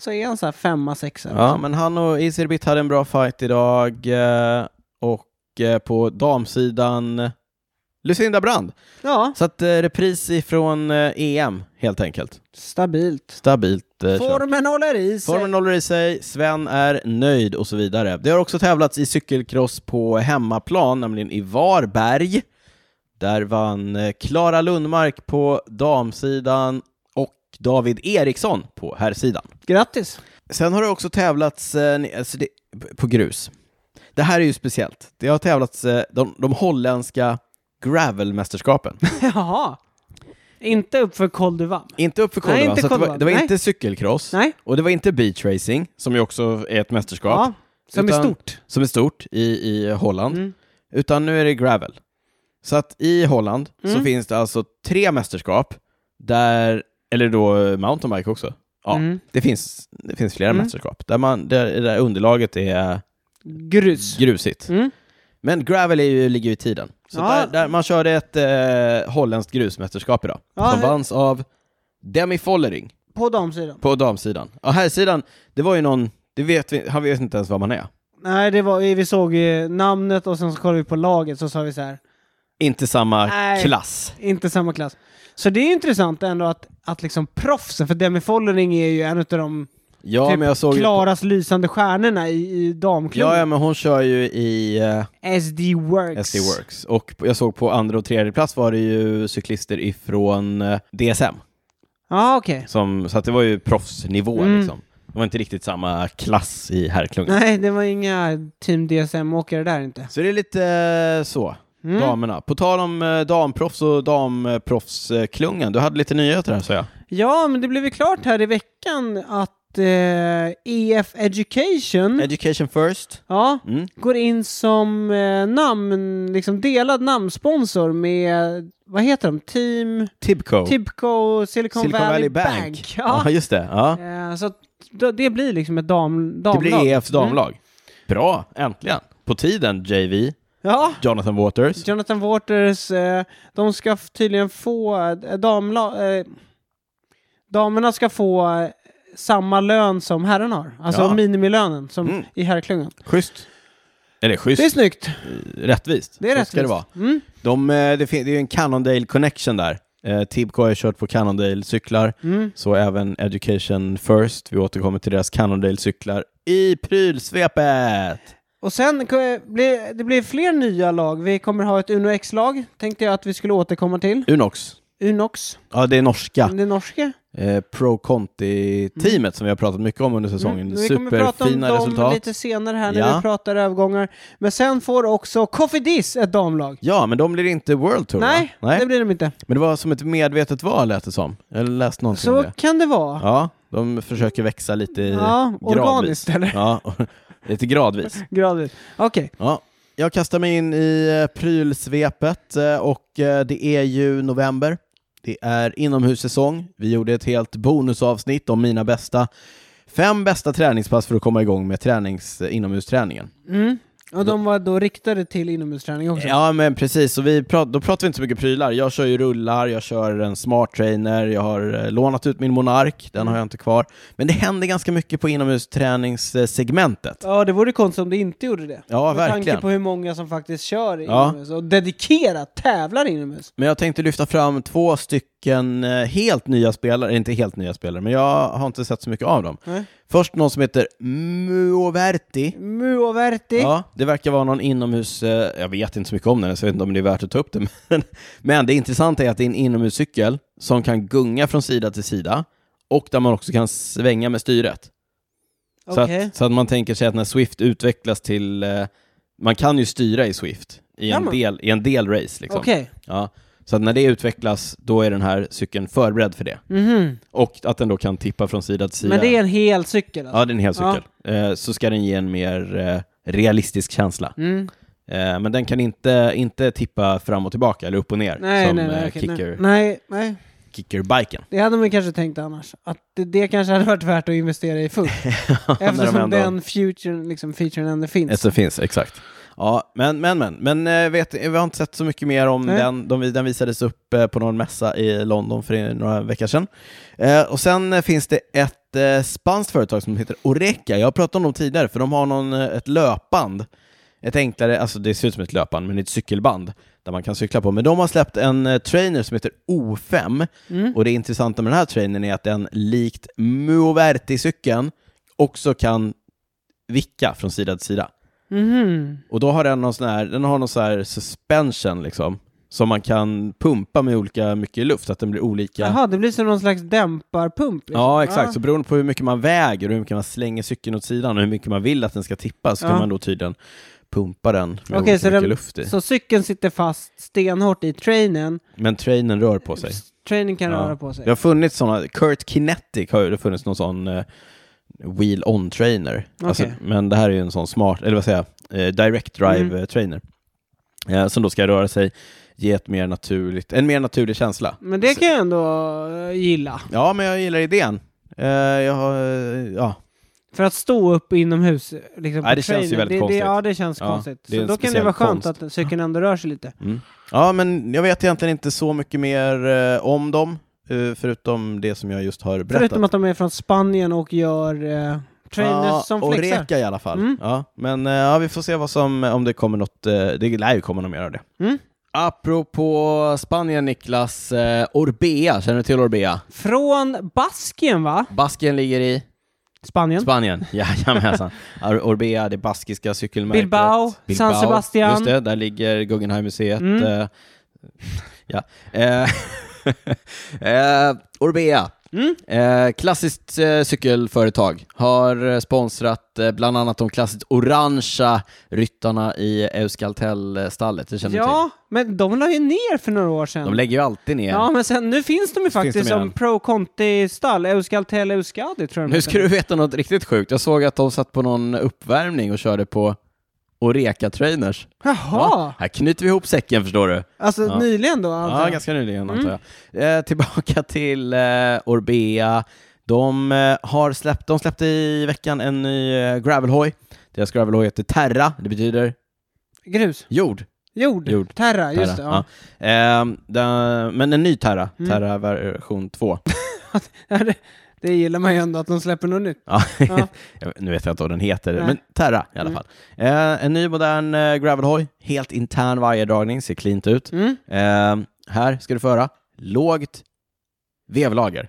så är han så här femma, sexa.
ja, men han och Isirbit hade en bra fight idag. eh, Och eh, på damsidan eh, Lucinda Brand.
ja,
Så att eh, repris ifrån eh, EM, helt enkelt.
stabilt.
Stabilt eh, kört.
Formen håller i sig.
Formen håller i sig, Sven är nöjd och så vidare. Det har också tävlats i cykelcross på hemmaplan, nämligen i Varberg. Där vann eh, Klara Lundmark på damsidan och David Eriksson på herrsidan.
Grattis.
Sen har det också tävlats eh, ne- alltså det, på grus. Det här är ju speciellt. Det har tävlats eh, de, de holländska gravelmästerskapen.
Jaha. Inte upp för Col du Vam.
inte upp för
Nej,
Kolva,
inte
så att det var,
Kolva.
det var
Nej.
inte cykelcross
Nej.
och det var inte beachracing, som ju också är ett mästerskap.
Ja, som
Utan-
är stort.
som är stort i, i Holland,
Mm.
utan nu är det gravel. Så att i Holland så
Mm.
finns det alltså tre mästerskap där, eller då eh, mountainbike också. Ja,
Mm.
det, finns, det finns flera
Mm.
mästerskap där, man, där, det där underlaget är
Grus.
grusigt.
Mm.
Men gravel är ju, ligger ju i tiden. Så
Ja.
där, där man körde ett eh, holländskt grusmästerskap idag,
Ja,
som
hur-
vanns av Demi Follering
På damsidan.
på damsidan. Och herrsidan, det var ju någon, det vet vi, han vet inte ens vad man är.
Nej, det var, vi såg ju namnet och sen så kollade vi på laget så sa vi så här.
Inte samma
Nej.
klass.
Inte samma klass. Så det är ju intressant ändå att, att liksom proffsen, för Demi Follering är ju en av de
Ja,
typ
men jag såg ju på-
klarast lysande stjärnorna i, i
Ja,
damklubben.
ja, men hon kör ju i eh,
SD Works.
SD Works. Och jag såg på andra och tredje plats var det ju cyklister ifrån eh, DSM.
Ja, okej.
Som, så att det var ju proffsnivå
Mm.
liksom. Det var inte riktigt samma klass i herrklungan.
Nej, det var inga Team DSM-åkare där inte.
Så det är lite eh, så,
Mm.
damerna. På tal om eh, damproffs och damproffsklungan, du hade lite nyheter här sa jag.
Ja, men det blev ju klart här i veckan att eh, EF Education
Mm. Education first.
ja,
Mm.
går in som eh, namn, liksom delad namnsponsor med, vad heter de, Team
Tibco.
Tibco Silicon,
Silicon
Valley, Bank.
Ja.
Ja.
just det. Ja.
Eh, så att då- det blir liksom ett dam,
Det
damlag.
blir E EFs
Mm.
damlag. Bra, äntligen. På tiden, JV.
Ja.
Jonathan Waters.
Jonathan Waters, eh, de ska f- tydligen få eh, damla, eh, damerna ska få eh, samma lön som herrarna har. Alltså
Ja.
minimilönen som
Mm.
i herrklungan.
Schysst. Eller schysst,
Det är snyggt.
eh, rättvist.
Det är
Så
rättvist.
ska det vara.
Mm.
De, eh, det, fin- det är ju en Cannondale connection där. Eh, Tibco har ju kört på Cannondale-cyklar,
Mm.
så även Education First. Vi återkommer till deras Cannondale-cyklar i prylsvepet!
Och sen k- blir det blir fler nya lag. Vi kommer ha ett Uno X-lag, tänkte jag att vi skulle återkomma till.
Unox.
Unox,
Ja, det är norska.
det norska.
Eh, Pro Conti-teamet som vi har pratat mycket om under säsongen.
Mm. Vi kommer prata om
Superfina
dem
resultat.
lite senare här när
Ja.
vi pratar övergångar. Men sen får också Coffee Diss ett damlag.
Ja, men de blir inte World Tour
Nej,
va? Nej,
det blir de inte.
men det var som ett medvetet val lät det som. Jag läste någonting om
Så
det.
kan det vara.
Ja, de försöker växa lite i
Ja,
gradvis.
organiskt, eller?
Ja, lite gradvis.
Gradvis. Okej.
Ja. Jag kastar mig in i eh, prylsvepet eh, och eh, det är ju november. Det är inomhussäsong. Vi gjorde ett helt bonusavsnitt om mina bästa fem bästa träningspass för att komma igång med tränings, eh, inomhusträningen.
Mm. Och de var då riktade till inomhusträning också.
Ja men precis, och vi prat, då pratar vi inte så mycket prylar. Jag kör ju rullar, jag kör en smart trainer, jag har eh, lånat ut min Monark, den har jag inte kvar. Men det händer ganska mycket på inomhusträningssegmentet.
Ja, det vore konstigt om det inte gjorde det.
Ja,
Med
verkligen.
tanke på hur många som faktiskt kör
Ja.
inomhus och dedikerat tävlar inomhus.
Men jag tänkte lyfta fram två stycken eh, helt nya spelare, inte helt nya spelare, men jag har inte sett så mycket av dem.
Nej.
Först någon som heter Muoverti.
Muoverti.
Ja, det verkar vara någon inomhus, eh, jag vet inte så mycket om den, så jag vet inte om det är värt att ta upp det. Men, men det intressanta är att det är en inomhuscykel som kan gunga från sida till sida och där man också kan svänga med styret. Så,
Okej.
att, så att man tänker sig att när Swift utvecklas till, eh, man kan ju styra i Swift i
Kan
en,
man?
del, i en del race. Liksom.
Okej.
Ja, så att när det utvecklas, då är den här cykeln förberedd för det.
Mhm.
Och att den då kan tippa från sida till sida.
Men det är en hel cykel alltså?
Ja, det är en hel cykel. Eh, så ska den ge en mer eh, realistisk känsla.
Mm.
Eh, men den kan inte, inte tippa fram och tillbaka, eller upp och ner,
Nej,
som
nej, nej,
eh,
okej, nej.
kicker,
nej, nej.
kickerbiken.
Det hade man kanske tänkt annars. Att det, det kanske hade varit värt att investera i fullt.
När
eftersom
de ändå-
den futuren, liksom, featuren ändå finns.
Eftersom Alltså, det finns, exakt. Ja, men, men, men, men eh, vet, vi har inte sett så mycket mer om
Nej.
den. De, den visades upp eh, på någon mässa i London för några veckor sedan. Eh, och sen eh, finns det ett eh, spanskt företag som heter Oreca. Jag har pratat om dem tidigare, för de har någon, eh, ett löpband. Ett enklare, alltså det ser ut som ett löpband, men det är ett cykelband där man kan cykla på. Men de har släppt en eh, trainer som heter O5.
Mm.
Och det intressanta med den här trainern är att den likt Muoverti-cykeln också kan vicka från sida till sida.
Mhm.
Och då har den någon sån här, den har någon sån här suspension liksom, som man kan pumpa med olika mycket luft, så att den blir olika.
Jaha, det blir som någon slags dämparpump. liksom.
Ja, exakt. Så beroende på hur mycket man väger och hur mycket man slänger cykeln åt sidan och hur mycket man vill att den ska tippa så
Ja.
kan man då tydligen pumpa den med
Okej,
olika
så
mycket
den-
luft i.
Så cykeln sitter fast stenhårt i trainen.
Men trainen rör på sig.
Trainen kan
Ja.
röra på sig.
Det har funnits sådana, Kurt Kinetic har ju det har funnits någon sån eh, wheel on trainer. Alltså,
Okej.
men det här är ju en sån smart, eller vad säger jag, eh, direct drive
Mm.
eh, trainer. Eh, som då ska röra sig, ge ett mer naturligt, en mer naturlig känsla.
Men det kan jag ändå eh, gilla.
Ja, men jag gillar idén. Eh, jag har, eh, ja.
För att stå upp inomhus liksom, på
Nej, det känns ju
trainen,
väldigt
det,
konstigt.
Det, ja, det känns
Ja,
konstigt.
det är
Så
en
då kan det
speciell
vara skönt
konst.
att cykeln ändå rör sig lite.
Mm. ja, men jag vet egentligen inte så mycket mer eh, om dem, eh, förutom det som jag just har berättat.
Förutom att de är från Spanien och gör eh, trainers
Ja,
som
och
flexar.
reka i alla fall.
Mm.
Ja, men eh, ja, vi får se vad som, om det kommer något, eh, det lär ju komma något mer av det.
Mm.
Apropå Spanien Niklas, eh, Orbea, känner du till Orbea?
Från Baskien va?
Basken ligger i
Spanien?
Spanien, jajamensan. Ar- Orbea, det baskiska cykelmärket.
Bilbao, San Sebastian.
Just det, där ligger Guggenheimmuseet.
Mm.
Eh, ja. eh, eh, Orbea,
Mm.
eh, klassiskt eh, cykelföretag, har eh, sponsrat eh, bland annat de klassiskt orangea ryttarna i Euskaltel-stallet. Det känner du
ja, men de la ju ner för några år
till.
sedan.
De lägger ju alltid ner.
Ja, men sen, nu finns de ju faktiskt
de
som
igen.
Pro Conti-stall. Euskaltel Euskadi tror jag de
Nu ska
heter.
du veta något riktigt sjukt. Jag såg att de satt på någon uppvärmning och körde på Oreca-trainers.
Jaha!
här knyter vi ihop säcken förstår du.
Alltså
Ja.
nyligen då? antar
Ja,
jag.
ganska nyligen
Mm.
antar jag. Eh, tillbaka till eh, Orbea. De, eh, har släppt, de släppte i veckan en ny eh, gravelhoj. Deras gravelhoj heter Terra, det betyder
Grus?
jord.
Jord?
Jord.
Terra,
Terra.
just det. Ja.
ja. Ehm, den- men en ny Terra,
Mm.
Terra version 2.
det, det gillar man ju ändå att de släpper något nytt.
Ja.
Ja.
Jag vet- nu vet jag inte vad den heter,
Nej.
men Terra i alla
Mm.
fall. Eh, en ny modern eh, gravelhoj, helt intern vajerdragning, ser cleant ut.
Mm.
Eh, här ska du föra lågt vevlager.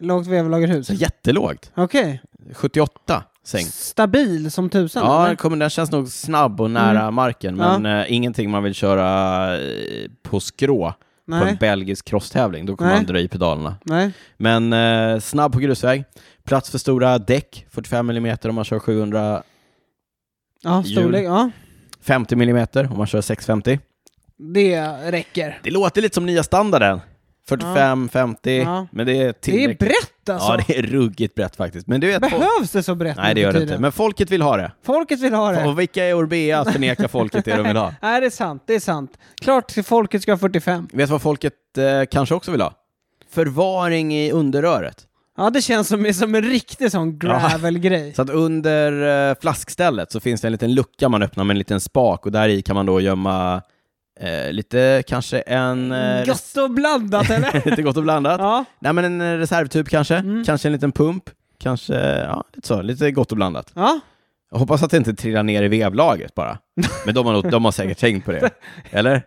Lågt vevlagerhus.
Så jättelågt.
Okej.
78 sänkt.
Stabil som tusan?
Ja, den,
eller?
kommer, den känns nog snabb och nära
Mm.
marken, men eh, ingenting man vill köra eh, på skrå på en
Nej.
belgisk crosstävling. Då kommer
Nej.
man dra i pedalerna.
Nej.
Men eh, snabb på grusväg, plats för stora däck, 45 mm om man kör 700,
Ja,
Hjul.
storlek. Ja.
50 mm om man kör 650.
Det räcker.
Det låter lite som nya standarden. 45, 50,
Ja.
men det är
Det är
tillräckligt.
brett alltså.
Ja, det är ruggigt brett faktiskt. Men du vet, folk-
Behövs det så brett
Nej, det
nu för
gör det
tiden?
inte. Men folket vill ha det.
Folket vill ha det.
Och vilka är Orbea att förneka folket det de vill ha?
Nej, det är sant. Det är sant. Klart folket ska ha 45.
Vet du vad folket eh, kanske också vill ha? Förvaring i underröret.
Ja, det känns som, som en riktig sån gravel-grej.
Så att under eh, flaskstället så finns det en liten lucka man öppnar med en liten spak och där i kan man då gömma eh, lite kanske en... Eh,
Gott och blandat, eller?
lite gott och blandat.
Mm. ja. Mm.
Nej men en eh, reservtub kanske, kanske en liten pump, kanske, ja lite så, lite gott och blandat.
ja.
Jag hoppas att det inte trillar ner i vevlagret bara. Men de har, nog, de har säkert tänkt på det. Eller?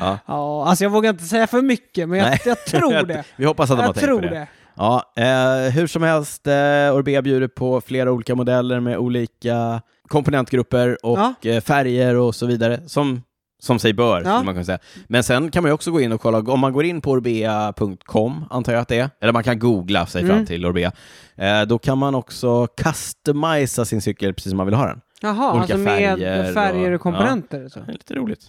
Ja.
Ja, alltså jag vågar inte säga för mycket, men jag,
Nej.
jag tror det.
Vi hoppas att de har
Jag
tänkt på
tror
det.
det.
Ja, eh, hur som helst, eh, Orbea bjuder på flera olika modeller med olika komponentgrupper och
Ja.
eh, färger och så vidare, som, som sig bör,
Ja.
skulle man kunna säga. Men sen kan man ju också gå in och kolla, om man går in på orbea.com, antar jag att det är, eller man kan googla sig fram
Mm.
till Orbea, eh, då kan man också customisa sin cykel precis som man vill ha den.
Jaha,
Olika
alltså med
färger
färger
och-
och, komponenter och så.
Det är lite roligt.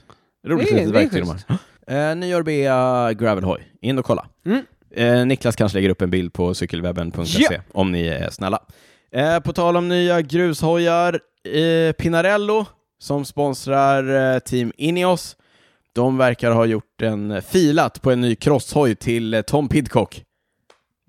Roligt
Det är-
litet
det är
verktyg de har. Eh, ny Orbea Gravelhoj, in och kolla.
Mm.
Eh, Niklas kanske lägger upp en bild på cykelwebben.se
Ja.
om ni är snälla. Eh, på tal om nya grushojar, eh, Pinarello som sponsrar eh, Team Ineos, de verkar ha gjort en eh, filat på en ny crosshoj till eh, Tom Pidcock.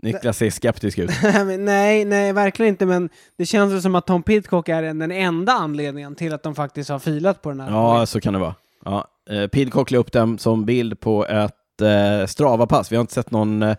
Niklas ser skeptisk ut.
Nej, men nej, nej, verkligen inte, men det känns väl som att Tom Pidcock är den enda anledningen till att de faktiskt har filat på den här.
Ja, så kan det vara. Ja. eh, Pidcock la upp den som bild på ett eh, Strava-pass. Vi har inte sett någon eh,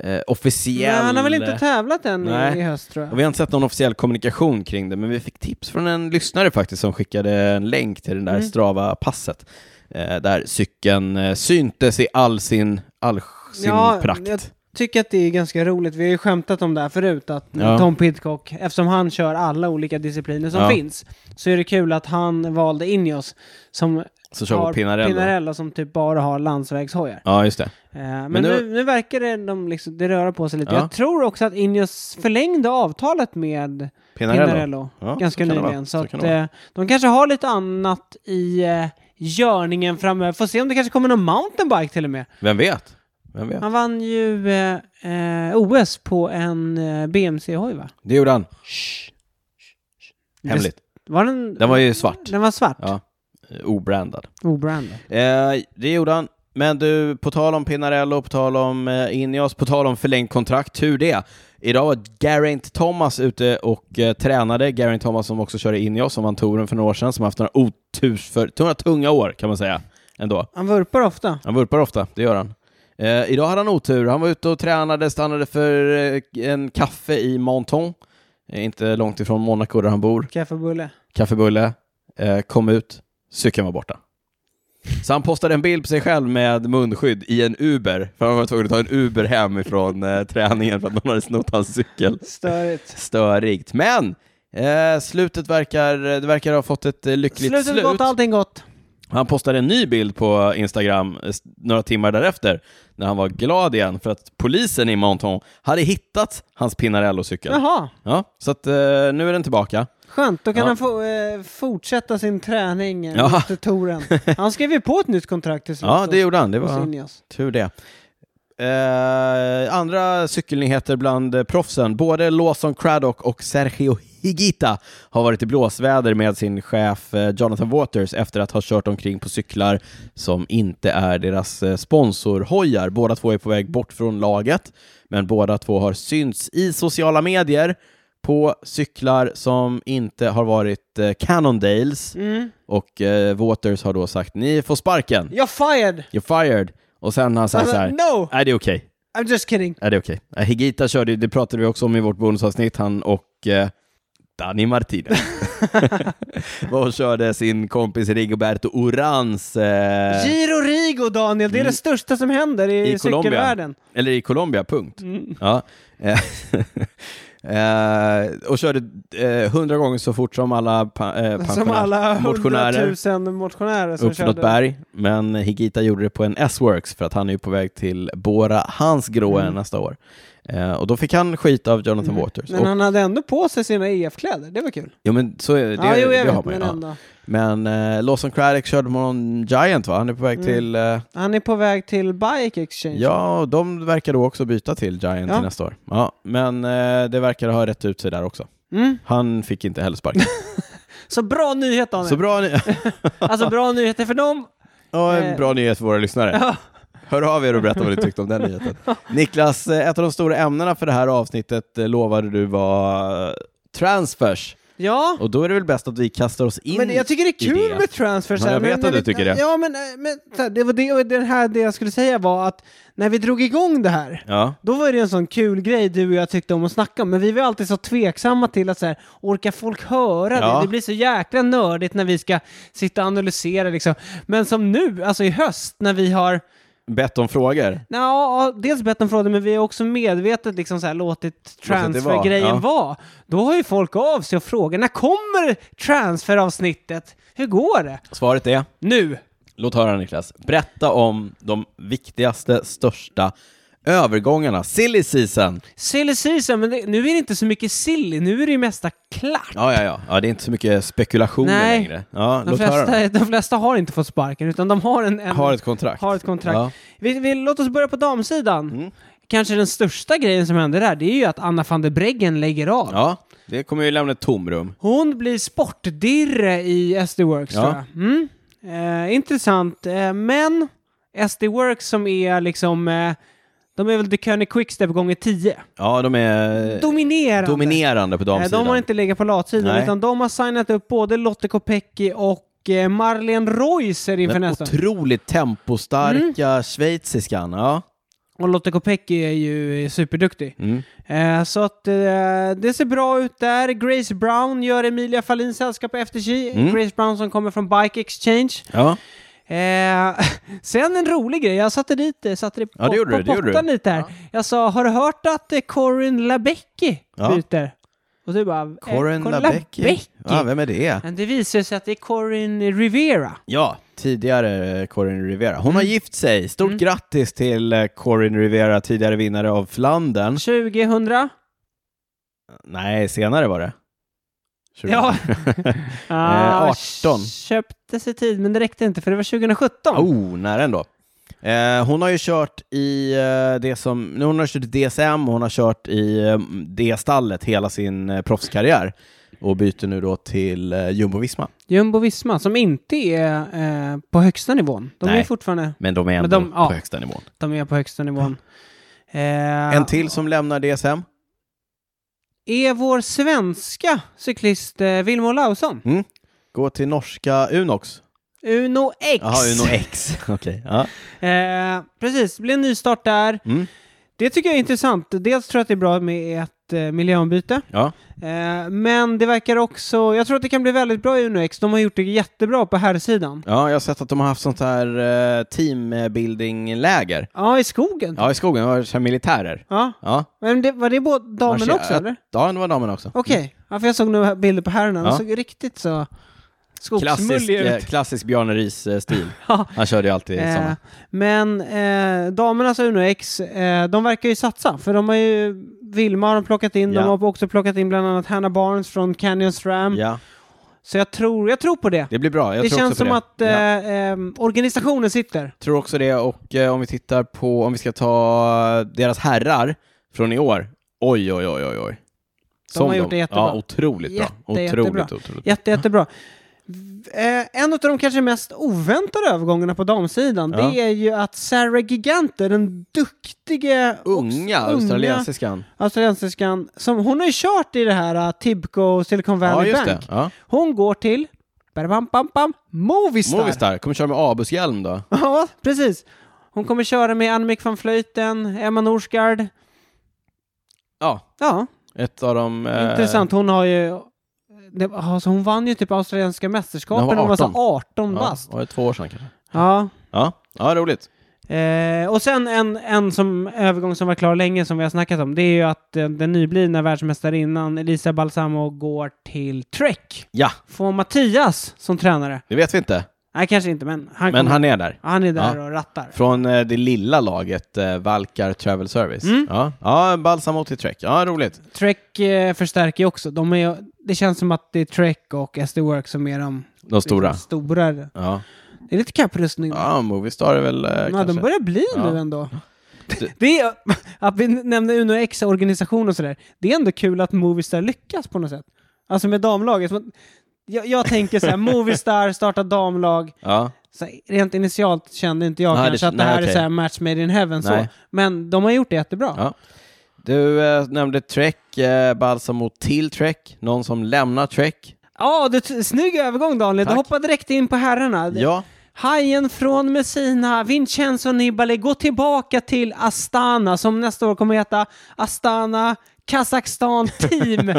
eh, officiell...
Nej, han har väl inte tävlat än
Nej.
i, i höst tror jag.
och vi har inte sett någon officiell kommunikation kring det, men vi fick tips från en lyssnare faktiskt som skickade en länk till det där
Mm.
Strava-passet. Eh, där cykeln eh, syntes i all sin, all sin
Ja,
prakt.
jag tycker att det är ganska roligt. Vi har ju skämtat om det här förut, att
Ja.
Tom Pidcock, eftersom han kör alla olika discipliner som
Ja.
finns, så är det kul att han valde Ineos som
Så kör vi
har
på Pinarello.
Pinarello som typ bara har landsvägshojar.
Ja, just det.
Eh, men
Men nu-
nu, nu verkar det, de liksom, det röra på sig lite.
Ja.
Jag tror också att Ineos förlängde avtalet med
Pinarello.
Pinarello
Ja,
ganska
så kan det
nyligen.
vara.
Så,
Så
att,
kan det vara.
eh, de kanske har lite annat i eh, görningen framöver. Får se om det kanske kommer någon mountainbike till och med.
Vem vet? Vem vet?
Han vann ju eh, eh, OS på en eh, BMC-hoj va?
Det gjorde han. Hemligt.
Var den,
Den var ju svart.
den var svart? Oh,
Ja. Obrandad.
Obrandad.
Eh, det gjorde han. Men du, på tal om Pinarello, på tal om eh, Ineos, på tal om förlängt kontrakt, tur det. Idag var Geraint Thomas ute och eh, tränade. Geraint Thomas som också körde Ineos, som vann touren för några år sedan, som haft några oturs för, några tunga år kan man säga ändå.
Han vurpar ofta.
Han vurpar ofta, det gör han. Eh, idag hade han otur. Han var ute och tränade, stannade för eh, en kaffe i Monton, eh, inte långt ifrån Monaco där han bor
Kaffebulle.
kaffebulle, eh, kom ut, cykeln var borta. Så han postade en bild på sig själv med munskydd i en Uber, för han var tvungen att ta en Uber hem ifrån eh, träningen för att någon hade snott hans cykel.
Störigt.
Störigt. Men eh, slutet verkar, det verkar ha fått ett eh, lyckligt
Slutet
slut.
gott, allting gott.
Han postade en ny bild på Instagram eh, s- några timmar därefter, när han var glad igen för att polisen i Monton hade hittat hans Pinarello-cykel.
Jaha,
Ja, så att, eh, nu är den tillbaka.
skönt. Då kan
Ja.
han få, eh, fortsätta sin träning eh,
Ja.
efter touren. Han skrev ju på ett nytt kontrakt till slut.
Ja, det gjorde han. Det
hos- hos
var...
Ineos.
Tur det. Eh, andra cykelnyheter bland eh, proffsen. Både Lawson Craddock och Sergio Higuita har varit i blåsväder med sin chef eh, Jonathan Waters efter att ha kört omkring på cyklar som inte är deras eh, sponsorhojar. Båda två är på väg bort från laget, men båda två har synts i sociala medier på cyklar som inte har varit eh, Cannondales
Mm.
och eh, Waters har då sagt ni får sparken.
You're fired!
You're fired. Och sen har han
Alltså,
sagt så här.
No,
Nej, det är okej.
I'm just kidding.
Nej, det är okej. Nej, Higita körde ju, det pratade vi också om i vårt bonusavsnitt, han och eh, Dani Martinez. var och körde sin kompis Rigoberto Urans eh, Mm.
Giro Rigo, Daniel, det är det största som händer i,
i Colombia.
cykelvärlden.
Eller i Colombia, punkt.
Mm.
Ja. Eh, eh, och körde eh, hundra gånger så fort som alla, pa, eh,
Som
pensionärer-
alla
motionärer
hundratusen motionärer som
upp för något
körde.
berg. Men Higita gjorde det på en S-Works för att han är ju på väg till Bora Hansgrohe
Mm.
nästa år. Eh, och då fick han skit av Jonathan Waters.
Men
och,
han hade ändå på sig sina EF-kläder, det var kul.
Jo men så är det,
ja, jo, jag
det har
vet,
man ju.
men
ja.
ändå.
Men eh, Lawson Craddock körde med någon Giant va? Han är på väg
Mm.
till... Eh,
Han är på väg till Bike Exchange.
ja, och de verkar då också byta till Giant
Ja.
till nästa år. Ja, men eh, det verkar ha rätt ut sig där också.
Mm.
Han fick inte heller sparken.
Så bra nyhet, Daniel.
Så bra, ny-
Alltså bra nyheter för dem.
ja, en bra nyhet för våra lyssnare.
Eh. Ja.
Hör av er och berätta vad ni tyckte om den nyheten. Niklas, eh, ett av de stora ämnena för det här avsnittet eh, lovade du var eh, transfers.
Ja.
Och då är det väl bäst att vi kastar oss in
Men jag tycker det är
i
kul
det.
med transfers.
Ja,
här,
jag
men
vet
när
att du
vi-
tycker det.
Ja, men, eh, men så här, det var det, och det, här, det jag skulle säga var att när vi drog igång det här,
Ja.
då var det en sån kul grej du och jag tyckte om att snacka om, men vi var alltid så tveksamma till att så här, orkar folk höra
Ja.
det? Det blir så jäkla nördigt när vi ska sitta och analysera liksom. Men som nu, alltså i höst, när vi har
Bett om frågor.
Ja, dels bett om frågor, men vi har också medvetet liksom så här låtit
det vara,
transfergrejen
ja.
vara. Då har ju folk av sig och frågar, när kommer transferavsnittet? Hur går det?
Svaret är?
Nu!
Låt höra Niklas. Berätta om de viktigaste, största övergångarna. Silly season!
Silly season, men det, nu är det inte så mycket silly, nu är det ju mesta klart.
Ja, ja, ja. ja det är inte så mycket spekulationer
Nej.
längre. Ja,
de,
låt höra.
flesta, de flesta har inte fått sparken, utan de har en... en
Har ett kontrakt.
har ett kontrakt.
Ja. Mm.
Vi, vi, låt oss börja på damsidan. Kanske den största grejen som händer där, det är ju att Anna van der Breggen lägger av.
ja, det kommer ju lämna ett tomrum.
Hon blir sportdirre i SD Works
Ja.
tror jag. Mm. Eh, intressant. Eh, men SD Works som är liksom... Eh, de är väl The König Quickstep gånger 10.
Ja, de är
Dominerande.
Eh, dominerande på
Eh,
damsidan.
de har inte legat på latsidan
Nej.
utan de har signat upp både Lotte Kopecky och eh, Marlene Reuser inför
Den
nästa.
otroligt tempostarka
Mm.
schweiziskan. Ja.
Och Lotte Kopecky är ju eh, superduktig.
Mm.
Eh, så att eh, det ser bra ut där. Grace Brown gör Emilia Fahlin sällskap på FTG.
Mm.
Grace Brown som kommer från Bike Exchange.
Ja.
Eh, sen en rolig grej, jag satte dit eh, satte det på,
Ja, det gjorde
på
du, det gjorde
pottan
du.
lite här. Jag sa, har du hört att eh, Corin Labecki
Ja.
byter? Och du bara, eh,
Corin Labecki. Ja, vem är det?
Men det visar sig att det är Corin Rivera.
Ja, tidigare eh, Corin Rivera. Hon har
Mm.
gift sig. Stort grattis till eh, Corin Rivera, tidigare vinnare av Flandern.
2000?
Nej, senare var det.
Ja.
Eh,
Ah,
18.
Köpte sig tid, men det räckte inte för det var 2017.
Oh, nära ändå. Eh, hon har ju kört i eh, det som, nu hon har kört i DSM och hon har kört i eh, det stallet hela sin eh, proffskarriär och byter nu då till eh, Jumbo-Visma.
Jumbo-Visma, som inte är eh, på högsta nivån. De är
Nej.
fortfarande
Men de är ändå
Men de- ja.
på högsta nivån.
de är på högsta nivån. Eh,
En till som lämnar DSM.
är vår svenska cyklist eh, Vilmo Olausson.
Mm. Gå till norska Unox.
Uno X.
Jaha, Uno X. Okej. Ja.
Eh, precis, det blir en ny start där.
Mm.
Det tycker jag är intressant. Dels tror jag att det är bra med ett eh, miljöombyte.
ja.
Eh, men det verkar också... Jag tror att det kan bli väldigt bra i Uno X. De har gjort det jättebra på här sidan.
Ja, jag har sett att de har haft sånt här eh, teambuilding-läger.
Ja, i skogen.
Ja, i skogen. Det var så här militärer.
Ja.
Ja.
Men det, var det både damen
Marscher-
också, eller?
Ja, det var damen också.
Okej. Ja, för jag såg några bilder på herrarna. De
Mm. Ja.
såg riktigt så
Klassisk,
skogsmulliga
eh,
ut.
klassisk Bjarne Riis-stil.
Ja.
Han körde ju alltid
Eh,
samma.
men eh, damernas Uno X, eh, de verkar ju satsa. För de har ju, Vilma har de plockat in,
Ja.
de har också plockat in bland annat Hannah Barnes från Canyon Ram.
Ja,
Så jag tror, jag tror på det.
det blir bra. Jag
mm. det
tror
känns
också
som
på det.
att eh,
Ja.
ehm, organisationen sitter.
Tror också det. Och eh, om vi tittar på, om vi ska ta eh, deras herrar från i år. Oj, oj, oj, oj, oj.
De har gjort det jättebra.
Ja, otroligt
Jätte,
bra.
jättebra.
Otroligt, otroligt.
Jätte, jättebra. V- Eh, en av de kanske mest oväntade övergångarna på damsidan,
Ja.
det är ju att Sarah Gigante, den duktige
Unga
också- unga
australiensiskan.
australiensiskan, som hon har ju kört i det här eh, Tibco Silicon
Ja,
Valley
just
Bank.
det. Ja.
Hon går till bam, bam, bam, Movistar.
Movistar, kommer köra med Abushjälm då.
Ja, precis. Hon kommer köra med Annemick van Vleuten, Emma Norsgaard.
Ja,
Ja,
ett av de... eh,
intressant. Hon har ju det, alltså hon vann ju typ australienska mästerskapen
När
när
hon
hon
var
var så 18 bast.
var det två år sedan kanske?
Ja.
Ja, ja roligt.
Eh, och sen en, en som, övergång som var klar länge som vi har snackat om, det är ju att eh, den nyblivna världsmästarinnan Elisa Balsamo går till Trek.
Ja,
Får Mattias som tränare?
det vet vi inte,
Nej, kanske inte, men han,
men
kommer-
han är där.
ja, han är där
Ja.
och rattar.
Från eh, det lilla laget eh, Valkar Travel Service.
Mm.
Ja, ja Balsamo till Trek. Ja, roligt.
Trek eh, förstärker ju också. De är, det känns som att det är Trek och SD Work som är de
De stora.
liksom stora. Det
Ja,
är lite kapprustning.
ja Movistar är väl eh,
ja,
kanske...
de börjar bli
Ja.
nu ändå.
Du-
Det är, att vi nämnde Uno X organisation och sådär. Det är ändå kul att Movistar lyckas på något sätt. Alltså med damlaget. Men Jag, jag tänker så här, Movistar startar damlag.
Ja,
Så här, rent initialt kände inte jag
Nej, det-
kanske att det
nej,
här
okej.
är så här match made in heaven. Så.
Nej.
Men de har gjort det jättebra.
Ja. Du eh, nämnde Trek, eh, Balsamo till Trek, någon som lämnar Trek.
Ja, du, snygg övergång Daniel.
Tack.
Du hoppar direkt in på herrarna.
Ja,
Hajen från Messina, Vincenzo Nibali, går tillbaka till Astana som nästa år kommer heta Astana Kazakstan Team.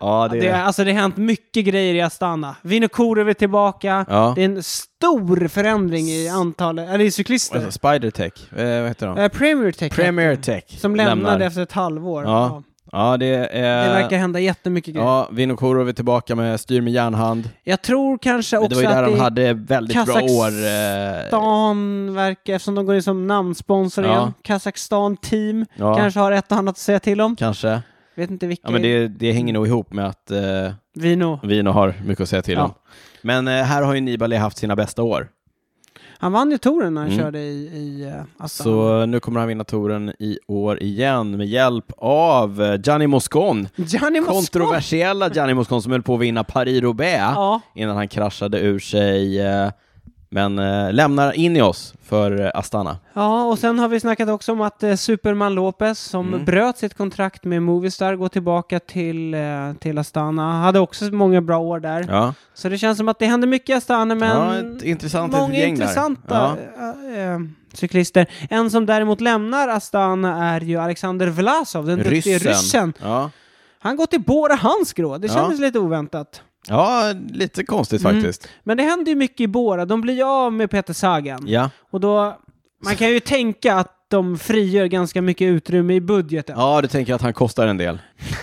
ja det,
det, alltså det har hänt mycket grejer i Astana. Vinokurov är tillbaka.
Ja.
Det är en stor förändring i antalet, eller i cyklister.
Alltså, Spider Tech, eh, vad heter de?
Eh, Premier Tech
Premier Tech.
som lämnade
lämnar.
efter ett halvår.
Ja, ja det är...
Det verkar hända jättemycket grejer.
Eh, Ja, Vinokurov är tillbaka med styr med järnhand.
Jag tror kanske också
Det var ju där
att
de
det är
hade väldigt bra år. eh,
Kazakstan verkar, eftersom de går in som namnsponsor
Ja.
igen, Kazakstan team,
Ja.
kanske har ett och annat att säga till om.
Kanske.
Vet inte vilka.
Ja, men det, det hänger nog ihop med att eh,
Vino.
Vino har mycket att säga till
Ja.
om. Men eh, här har ju Nibali haft sina bästa år.
Han vann ju touren när han
Mm.
körde i, i eh, Astana.
Så eh, nu kommer han vinna touren i år igen med hjälp av eh, Gianni Moscon.
Gianni Moscon.
Kontroversiella Gianni Moscon som höll på att vinna Paris-Roubaix
Ja.
innan han kraschade ur sig. eh, Men eh, lämnar in i oss för eh, Astana.
ja, och sen har vi snackat också om att eh, Superman Lopez, som
Mm.
bröt sitt kontrakt med Movistar, går tillbaka till, eh, till Astana. Han hade också många bra år där.
Ja,
Så det känns som att det händer mycket i Astana,
ja
men
ett intressant
många
litet gäng
intressanta
Där. Ja.
eh, eh, cyklister. En som däremot lämnar Astana är ju Alexander Vlasov, den duktige ryssen.
Ja.
Han går till Bora Hansgrohe, det
Ja.
kändes lite oväntat.
ja, lite konstigt
Mm.
faktiskt.
Men det händer ju mycket i Bora, de blir ju av med Peter Sagan.
Ja.
Och då, man kan ju tänka att de frigör ganska mycket utrymme i budgeten.
ja, du tänker att han kostar en del.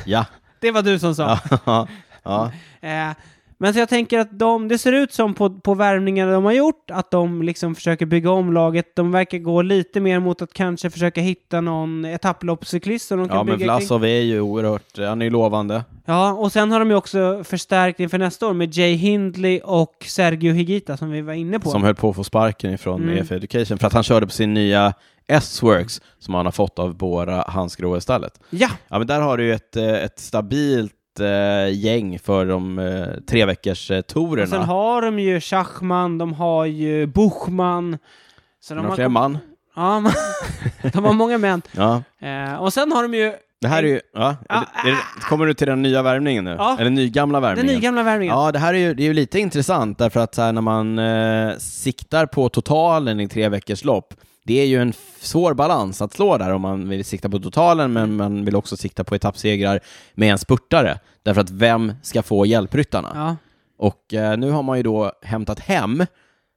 Ja.
Det var du som sa.
ja. ja.
Eh, men så jag tänker att de, det ser ut som på, på värvningarna de har gjort, att de liksom försöker bygga om laget. De verkar gå lite mer mot att kanske försöka hitta någon etapploppscyklist som de kan
Ja, men
bygga kring.
Vlasov är ju oerhört, han är ju lovande.
Ja, och sen har de ju också förstärkt inför nästa år med Jay Hindley och Sergio Higuita som vi var inne på.
Som höll på att få sparken ifrån
Mm.
EF Education för att han körde på sin nya S-Works som han har fått av Bora Hansgrohe-stallet.
Ja,
Ja, men där har du ju ett, eh, ett stabilt eh, gäng för de eh, tre veckors eh,
och sen
tourerna.
har de ju Schachman, de har ju Buchman. Så de
Några
har,
fler man.
ja, man- de har många män.
Ja.
Eh, och sen har de ju
Det här är ju, ja,
Ja, Ah,
är det, är det, kommer du till den nya värvningen nu?
Ja.
Eller nygamla
den
värvningen?
nygamla värvningen.
Ja, det här är ju, det är ju lite intressant därför att så här, när man eh, siktar på totalen i tre veckors lopp, det är ju en f- svår balans att slå där om man vill sikta på totalen men man vill också sikta på etappsegrar med en spurtare. Därför att vem ska få hjälpryttarna?
Ja.
Och eh, nu har man ju då hämtat hem,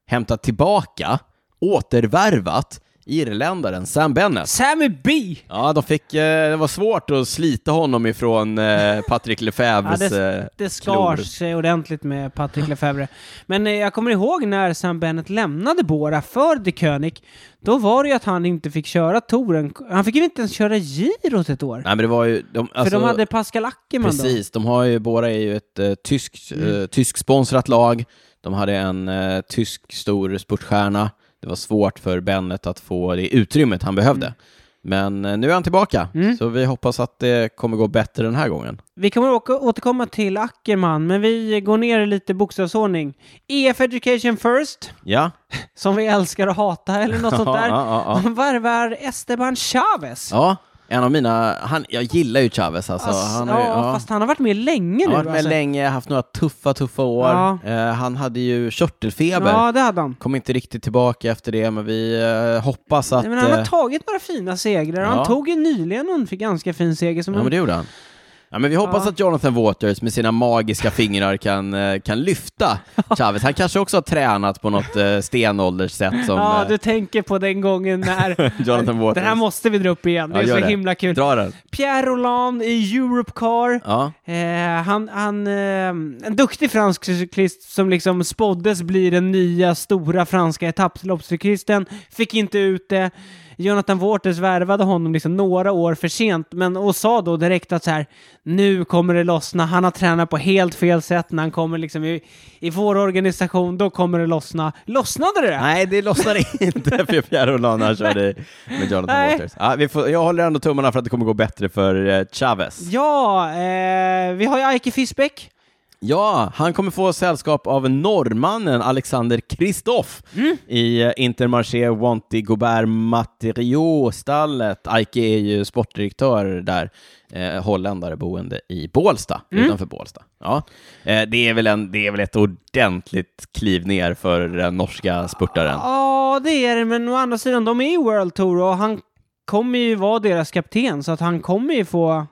hämtat tillbaka, återvärvat irländaren Sam Bennett.
Sammy B!
Ja, de fick, eh, det var svårt att slita honom ifrån eh, Patrick
Ja,
Lefebvres... eh,
det, det
klor.
skar sig ordentligt med Patrick Lefebvre. Men eh, jag kommer ihåg när Sam Bennett lämnade Bora för De König. Då var det ju att han inte fick köra touren. Han fick ju inte ens köra girot ett år.
Nej, men det var ju... De,
för
alltså-
de hade Pascal Ackerman då.
Precis, de har ju, båda är ju ett eh, tysk,
Mm.
eh, tysksponsrat lag. De hade en eh, tysk stor sportstjärna. Det var svårt för Bennet att få det utrymmet han behövde.
Mm.
Men eh, nu är han tillbaka, så vi hoppas att det kommer gå bättre den här gången.
Vi kommer åka, återkomma till Ackerman, men vi går ner i lite bokstavsordning. EF Education First,
Ja,
som vi älskar och hatar, eller något sånt där.
Ja, ja, ja.
De varvar Esteban Chavez.
ja en av mina... Han, jag gillar ju Chavez alltså.
Ass-
han har ju,
ja, fast han har varit med länge
Han
nu.
har varit med
alltså.
länge, haft några tuffa, tuffa år.
Ja.
Eh, han hade ju körtelfeber.
Ja, det hade han.
Kom inte riktigt tillbaka efter det, men vi eh, hoppas att...
Nej, men han
eh,
har tagit några fina segrar.
ja.
Han tog ju nyligen en ganska fin seger som
Ja,
han
men det gjorde han. Ja, men vi hoppas
Ja.
att Jonathan Waters med sina magiska fingrar kan, eh, kan lyfta Chavez. Han kanske också har tränat på något eh, stenålderssätt som
Ja,
eh,
du tänker på den gången när...
Jonathan Waters.
Den här måste vi dra upp igen, det
Ja,
är
gör
så
det.
himla kul.
Dra den.
Pierre Roland i Europe Car.
Ja.
Eh, han, han, eh, en duktig fransk cyklist som liksom spåddes bli den nya stora franska etapploppscyklisten. Fick inte ut det. Jonathan Waters värvade honom liksom några år för sent men, och sa då direkt att så här, nu kommer det lossna. Han har tränat på helt fel sätt när han kommer liksom i, i vår organisation. Då kommer det lossna. Lossnade det?
Nej, det lossnar inte för Pierre Roland när han körde i- med Jonathan
Nej.
Waters. Ja, vi får, jag håller ändå tummarna för att det kommer gå bättre för eh, Chavez.
Ja, eh, vi har ju Eike Fischbeck.
Ja, han kommer få sällskap av norrmannen Alexander Kristoff i eh, Intermarché Wanty Gobert Materiaux-stallet. Ike är ju sportdirektör där, eh, holländare boende i Bålsta, utanför Bålsta. Ja. Eh, det, är väl en, det är väl ett ordentligt kliv ner för den norska spurtaren.
Ja, det är det, men å andra sidan, de är i World Tour och han kommer ju vara deras kapten, så att han kommer ju få...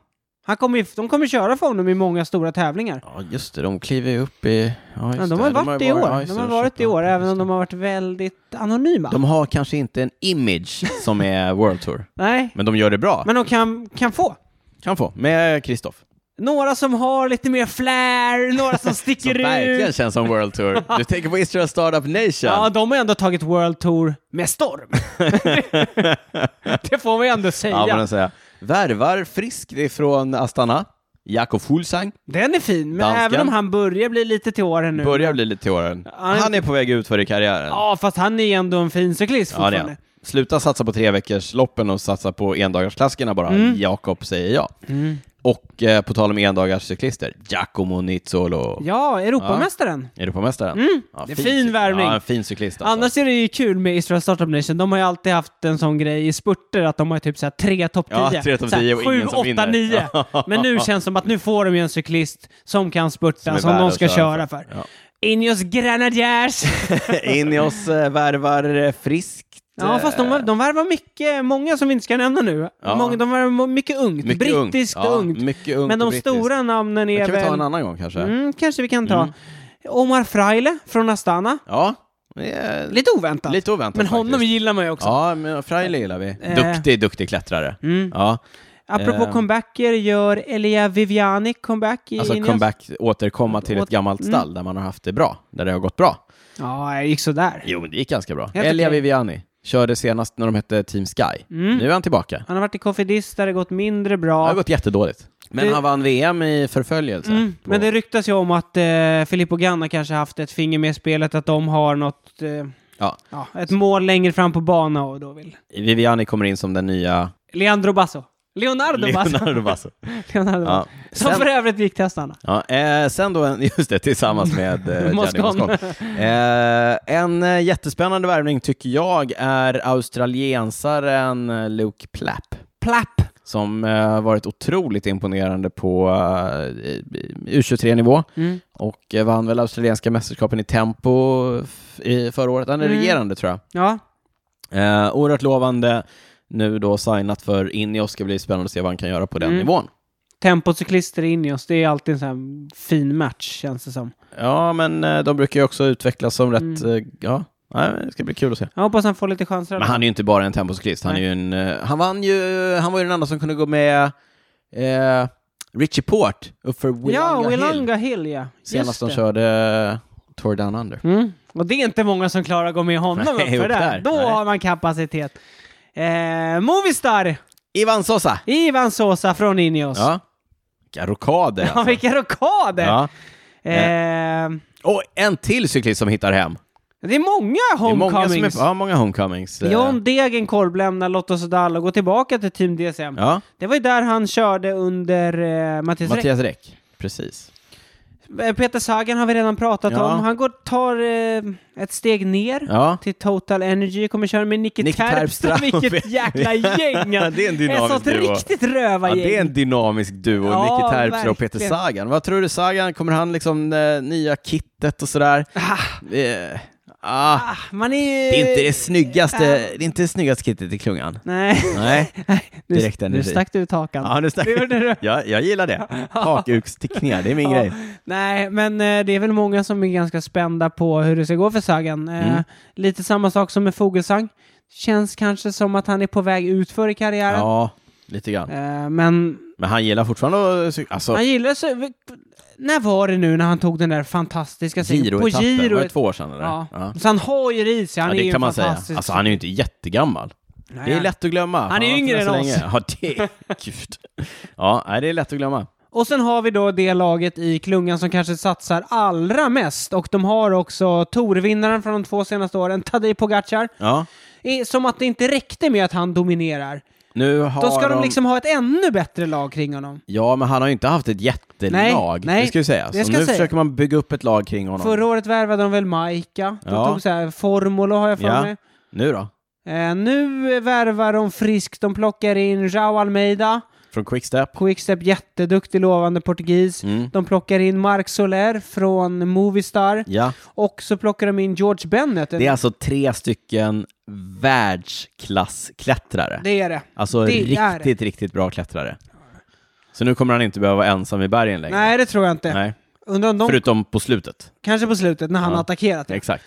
Han kommer ju, de kommer köra för honom i många stora tävlingar.
Ja, just det, de kliver ju upp i... Ja, just
Men
det.
de har varit
ju
i år,
ja, just
de
det,
har varit i
köpt-
år,
ja,
även
just
om de har varit väldigt anonyma.
det. De har kanske inte en image som är World Tour,
Nej,
men de gör det bra.
men de kan, kan få.
Kan få, med Kristoff.
Några som har lite mer flair, några som sticker
Som
ut.
verkligen känns som World Tour. Du tänker på Israel Startup Nation.
Ja, de har ändå tagit World Tour med storm. det får man ju ändå säga.
Ja, får man säga. Värvar friskt ifrån Astana. Jakob Fuglsang
Den är fin, men
Dansken.
även om han börjar bli lite till åren nu.
börjar bli lite till åren.
han-
Han är på väg ut för i karriären.
Ja, fast han är ändå en fin cyklist
Ja, det
fortfarande.
är han. Sluta satsa på tre veckors loppen och satsa på endagarsklassikerna bara.
Mm.
Jakob säger ja. Och eh, på tal om endagarcyklister, Giacomo Nizzolo.
Ja, Europamästaren.
Europamästaren. Ja,
Mm. Det är fin
cyk-
värvning.
Ja, en fin cyklist alltså.
Annars är det ju kul med Israel Startup Nation. De har ju alltid haft en sån grej i spurter att de har typ så här tre topp 10.
Ja, tre topp 10 och ingen som vinner.
9. Men nu känns det som att nu får de ju en cyklist som kan spurta, som,
är värd
de
att
ska
köra
köra
för.
för. Ineos Grenadiers!
Ineos eh, värvar eh, friskt.
Ja, fast de, de värvar mycket, många som vi inte ska nämna nu.
Ja.
Många, de värvar mycket ungt,
Mycket ungt.
brittiskt
Ja,
ungt.
mycket ungt
Men de
och brittiskt.
stora namnen
Det
är
kan vi ta
väl...
en annan gång kanske.
mm, kanske vi kan ta. Omar Fraile från Astana.
Ja, det är
Lite oväntat.
lite oväntat
Men honom
faktiskt.
gillar man ju också.
Ja, men Fraile gillar vi.
Eh. Mm.
Duktig, duktig klättrare. Ja.
Apropå
Eh.
comebacker gör Elia Viviani comeback i
Alltså
Ineos.
comeback, återkomma till ett
Åter-
gammalt stall där man har haft det bra, där det har gått bra.
Ja, det gick sådär.
Jo, men det gick ganska bra.
okej.
Elia Viviani körde senast när de hette Team Sky.
Mm.
Nu är han tillbaka.
Han har varit i Cofidis där det gått mindre
Det
bra.
har gått jättedåligt. Men
Det-
han vann VM i förföljelse.
Mm.
på-
Men det ryktas ju om att eh, Filippo Ganna kanske haft ett finger med i spelet, att de har något, eh,
ja.
ja, ett mål längre fram på bana och då vill...
Viviani kommer in som den nya
Leandro Basso. Leonardo, Basso.
Leonardo Basso.
Leonardo
Ja.
Basso. Som
Sen-
för övrigt gick testarna.
Ja, eh, sen då, en- just det, tillsammans med eh, Gianni
Moscon.
Moscon. Eh, en eh, jättespännande värvning tycker jag är australiensaren eh, Luke Plapp
Plapp.
som eh, varit otroligt imponerande på eh, U23-nivå
Mm.
och eh, vann väl australienska mästerskapen i tempo f- i förra året. Han är
Mm.
regerande tror jag.
Ja.
Eh, oerhört lovande. Nu då signat för Ineos. Ska bli spännande att se vad han kan göra på den
Mm.
nivån.
Tempocyklister i Ineos, det är alltid en sån här fin match känns det som.
Ja, men eh, de brukar ju också utvecklas som rätt...
Mm.
eh, Ja, Nej, men det ska bli kul att se.
Jag hoppas han får lite chanser.
Men han är ju inte bara en tempocyklist. Han, är
Nej.
ju en, eh, han, vann ju, han var ju den enda som kunde gå med eh, Richie Port uppför Willanga
ja,
Hill
Willanga Hill, ja.
senast de
Just det.
körde eh, Tour Down Under.
Mm. Och det är inte många som klarar att gå med honom
Nej,
uppför
upp
där.
där.
Då
Nej.
har man kapacitet. Eh, Movistar,
Ivan Sosa!
Ivan Sosa från Ineos. Ja,
Ja. Vilka rokader alltså.
vilka rockader!
Ja.
Eh,
Och en till cyklist som hittar hem.
det är många
Det är många, som
homecomings.
är, ja, många homecomings. eh,
John Degen korvlämnar Lotto Sudal och går tillbaka till Team DSM.
Ja,
Det var ju där han körde under eh, Mattias Räck.
Mattias Räck. Precis.
Eh, Peter Sagan har vi redan pratat
Ja.
om. Han går, tar eh, ett steg ner
Ja.
till Total Energy. Kommer köra med Nicky,
Nicky
Terpstra.
Terpstra.
Vilket jäkla gäng!
Ja, det är en dynamisk
Ett sånt
duo.
riktigt rövargäng.
Ja, det är en dynamisk duo,
Ja,
Nicky Terpstra och
verkligen.
Peter Sagan. Vad tror du Sagan, kommer han liksom eh, nya kittet och sådär? Eh, Ah,
Man är ju...
det är inte det snyggaste, det är inte det snyggaste kittet i klungan.
Nej.
Nej,
Nu-
direkt där
Nu
nere i.
stack du ut hakan.
ja, nu stack-
Det gjorde du.
jag, jag gillar det. Hakukstickningar, det är min
Ja.
grej.
Nej, men eh, det är väl många som är ganska spända på hur det ska gå för Sagan. Eh,
Mm.
Lite samma sak som med Fogelsang. Känns kanske som att han är på väg utför i karriären.
Ja, lite grann.
Eh, men
Men han gillar fortfarande att cykla. Alltså,
han gillar så... v- När var det nu när han tog den där fantastiska segern? På
giroetappen,
Giro.
var det två år sedan eller?
Ja.
Ja.
Så han har ju det i sig. Han
Ja,
är ju
det
en
kan man säga.
fantastisk...
Alltså han är ju inte jättegammal.
Nej,
Det är
han-
lätt att glömma.
är
har funnits
yngre
så
än oss.
länge. Ja, det är... Gud. Ja, nej, det är lätt att glömma.
Och sen har vi då det laget i klungan som kanske satsar allra mest och de har också torvinnaren från de två senaste åren, Tadej Pogacar.
Ja.
I- Som att det inte räckte med att han dominerar.
Nu har
Då ska de liksom ha ett ännu bättre lag kring honom.
Ja, men han har ju inte haft ett jättelag.
Nej, nej.
Det ska ju sägas.
Det
Så
ska
nu
sägas.
försöker man bygga upp ett lag kring honom.
Förra året värvade de väl Maika, de
Ja.
tog så här Formolo har jag för
ja.
mig.
Nu då?
Eh, nu värvar de friskt, de plockar in Jao Almeida,
Från Quickstep?
Quickstep jätteduktig lovande portugis.
Mm.
De plockar in Mark Soler från Movistar.
Ja.
Och så plockar de in George Bennett. en-
Det är alltså tre stycken världsklassklättrare.
det är det.
Alltså
det
riktigt,
är det.
riktigt bra klättrare. Så nu kommer han inte behöva vara ensam i bergen längre.
Nej, det tror jag inte.
Nej.
Undrar om de,
Förutom på slutet.
kanske på slutet när han
Ja.
attackerat. Eh,
Exakt.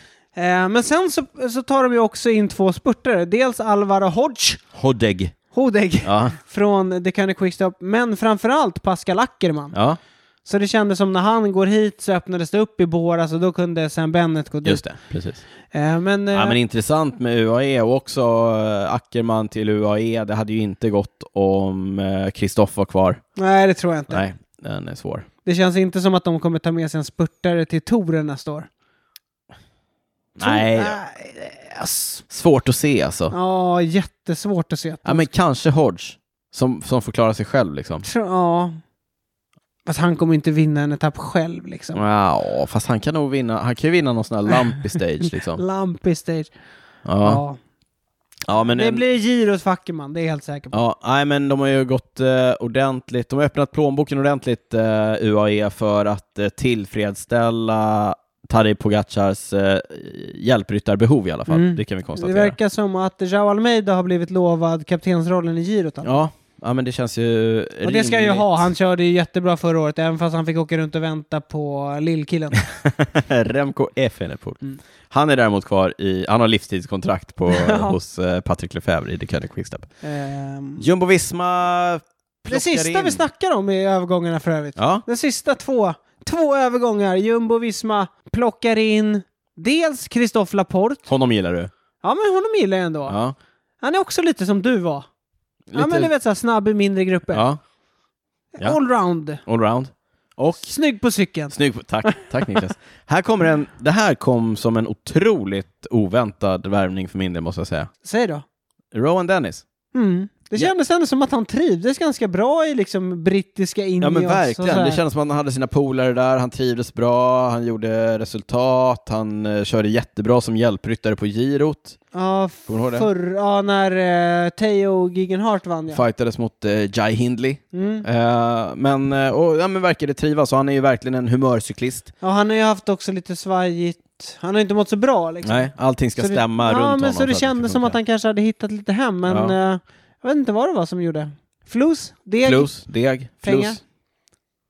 men sen så, så tar de ju också in två spurtare. Dels Alvaro Hodge,
Hodeg.
Hodeg,
Ja.
från The Kind of Quickstep, men framförallt Pascal Ackerman.
ja,
Så det kändes som när han går hit så öppnades det upp i båras och då kunde sen Bennett gå dit.
just det. Precis.
Eh, men, eh,
Ja, men intressant med UAE och också eh, Ackerman till UAE. Det hade ju inte gått om eh, Kristoff var kvar.
nej, det tror jag inte.
Nej, den är svår.
Det känns inte som att de kommer ta med sig en spurtare till touren nästa år.
Nej,
Nej, ass.
svårt att se alltså.
Ja, jättesvårt att se. att-
Ja, men kanske Hodge, som, som får klara sig själv liksom.
Tror- Ja. Fast han kommer inte vinna en etapp själv liksom.
Ja, fast han kan nog vinna. Han kan ju vinna någon sån här lumpy stage liksom.
Lumpy stage. Ja.
Ja, ja men...
Det
en-
blir girot Fackerman, det är jag helt säker på.
Ja, nej men de har ju gått eh, ordentligt, de har öppnat plånboken ordentligt eh, UAE för att eh, tillfredsställa Tadej Pogacars eh, hjälpryttarbehov i alla fall.
Mm.
Det kan vi
det
konstatera.
verkar som att Jao Almeida har blivit lovad kaptensrollen i girot. alltså.
Ja, ja, men det känns ju
Och det ska jag ju
rimligt.
ha, han körde ju jättebra förra året, även fast han fick åka runt och vänta på lillkillen.
Remco Evenepoel.
Mm.
Han är däremot kvar i, han har livstidskontrakt på,
Ja.
hos eh, Patrick Lefebvre i The Cunning Quickstep.
Ehm,
Jumbo-Visma
det
plockar
sista
in.
vi snackar om är övergångarna för övrigt.
Ja,
De sista två, två övergångar, Jumbo Visma plockar in dels Christophe Laporte,
honom gillar du.
ja men honom gillar jag ändå.
Ja.
Han är också lite som du var. Ja
Lite-
men du vet såhär snabb i mindre grupper.
ja, ja.
Allround.
allround. Och
Snygg på cykeln.
Snygg, på- tack, tack Niklas. Här kommer en, det här kom som en otroligt oväntad värvning för min del måste jag säga.
Säg då.
Rowan Dennis.
Mm. Det
Ja.
kändes ändå som att han trivdes ganska bra i liksom brittiska Ineos.
Ja men
och så
verkligen,
här.
det kändes som att han hade sina polare där, han trivdes bra, han gjorde resultat, han eh, körde jättebra som hjälpryttare på girot,
Ja,
Kommer du ihåg det?
förr, ja när uh, Teo Giggenhart vann ja.
fightades mot eh, Jai Hindley.
Mm.
Eh, men, eh, och, ja, men verkade trivas, och han är ju verkligen en humörcyklist.
ja. Han har ju haft också lite svajigt, han har inte mått så bra liksom.
Nej, allting ska
Så det-
stämma
ja,
runt
men
honom.
Så
för
det
att ska
kändes som att
funka.
han kanske hade hittat lite hem, men
Ja.
eh, jag vet inte vad det var som gjorde. Flus? Deg?
Flus, deg,
Pengar.
flus.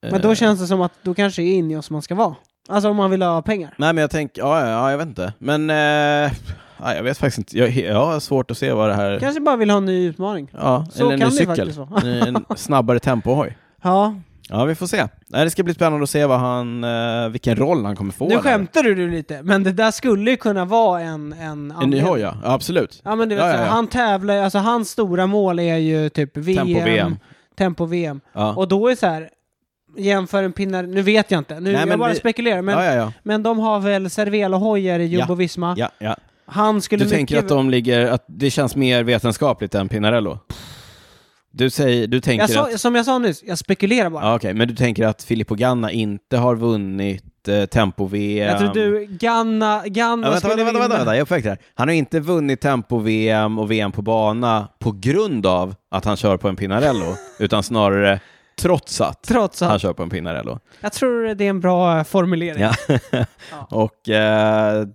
Eh,
Men då känns det som att då kanske är Ineos man ska vara. Alltså om man vill ha pengar.
Nej men jag tänker, ja, ja, ja jag vet inte. Men, eh, nej, jag vet faktiskt inte. Jag, jag har svårt att se vad det här...
Kanske bara vill ha en ny utmaning.
ja,
Så
en
kan
ny
det
cykel.
faktiskt vara.
en snabbare tempohoj.
Ja,
Ja, vi får se. Nej, det ska bli spännande att se vad han, eh, vilken roll han kommer få.
nu
där.
skämtar du nu lite, men det där skulle ju kunna vara en... En,
En ny
anledning.
hoj, ja. Ja, Absolut.
Ja men du vet,
Ja, ja,
så här,
ja.
han tävlar ju- alltså hans stora mål är ju typ VM.
Tempo-VM.
Tempo-VM.
Ja.
Och då är så här, jämför en pinnar, nu vet jag inte, nu,
Nej,
jag
men
bara
vi-
spekulerar, men,
ja, ja, ja.
men de har väl Cervelo-hojar i Jumbo
Ja.
Visma.
ja, ja.
Han skulle
Du
mycket...
tänker att de ligger, att det känns mer vetenskapligt än Pinarello? Du säger, du tänker
jag sa,
att...
Som jag sa nyss, jag spekulerar bara.
Ja, okej, men du tänker att Filippo Ganna inte har vunnit eh, tempo-VM?
Jag tror du, Ganna, Ganna
Ja, vänta,
skulle
vänta, vänta,
vinna.
vänta, vänta, jag är på väg till det här. Han har inte vunnit Tempo-VM och VM på bana på grund av att han kör på en Pinarello, utan snarare trots att
Trots
han
allt.
kör på en Pinarello.
eh, Jag tror det är en bra formulering.
Ja. och eh,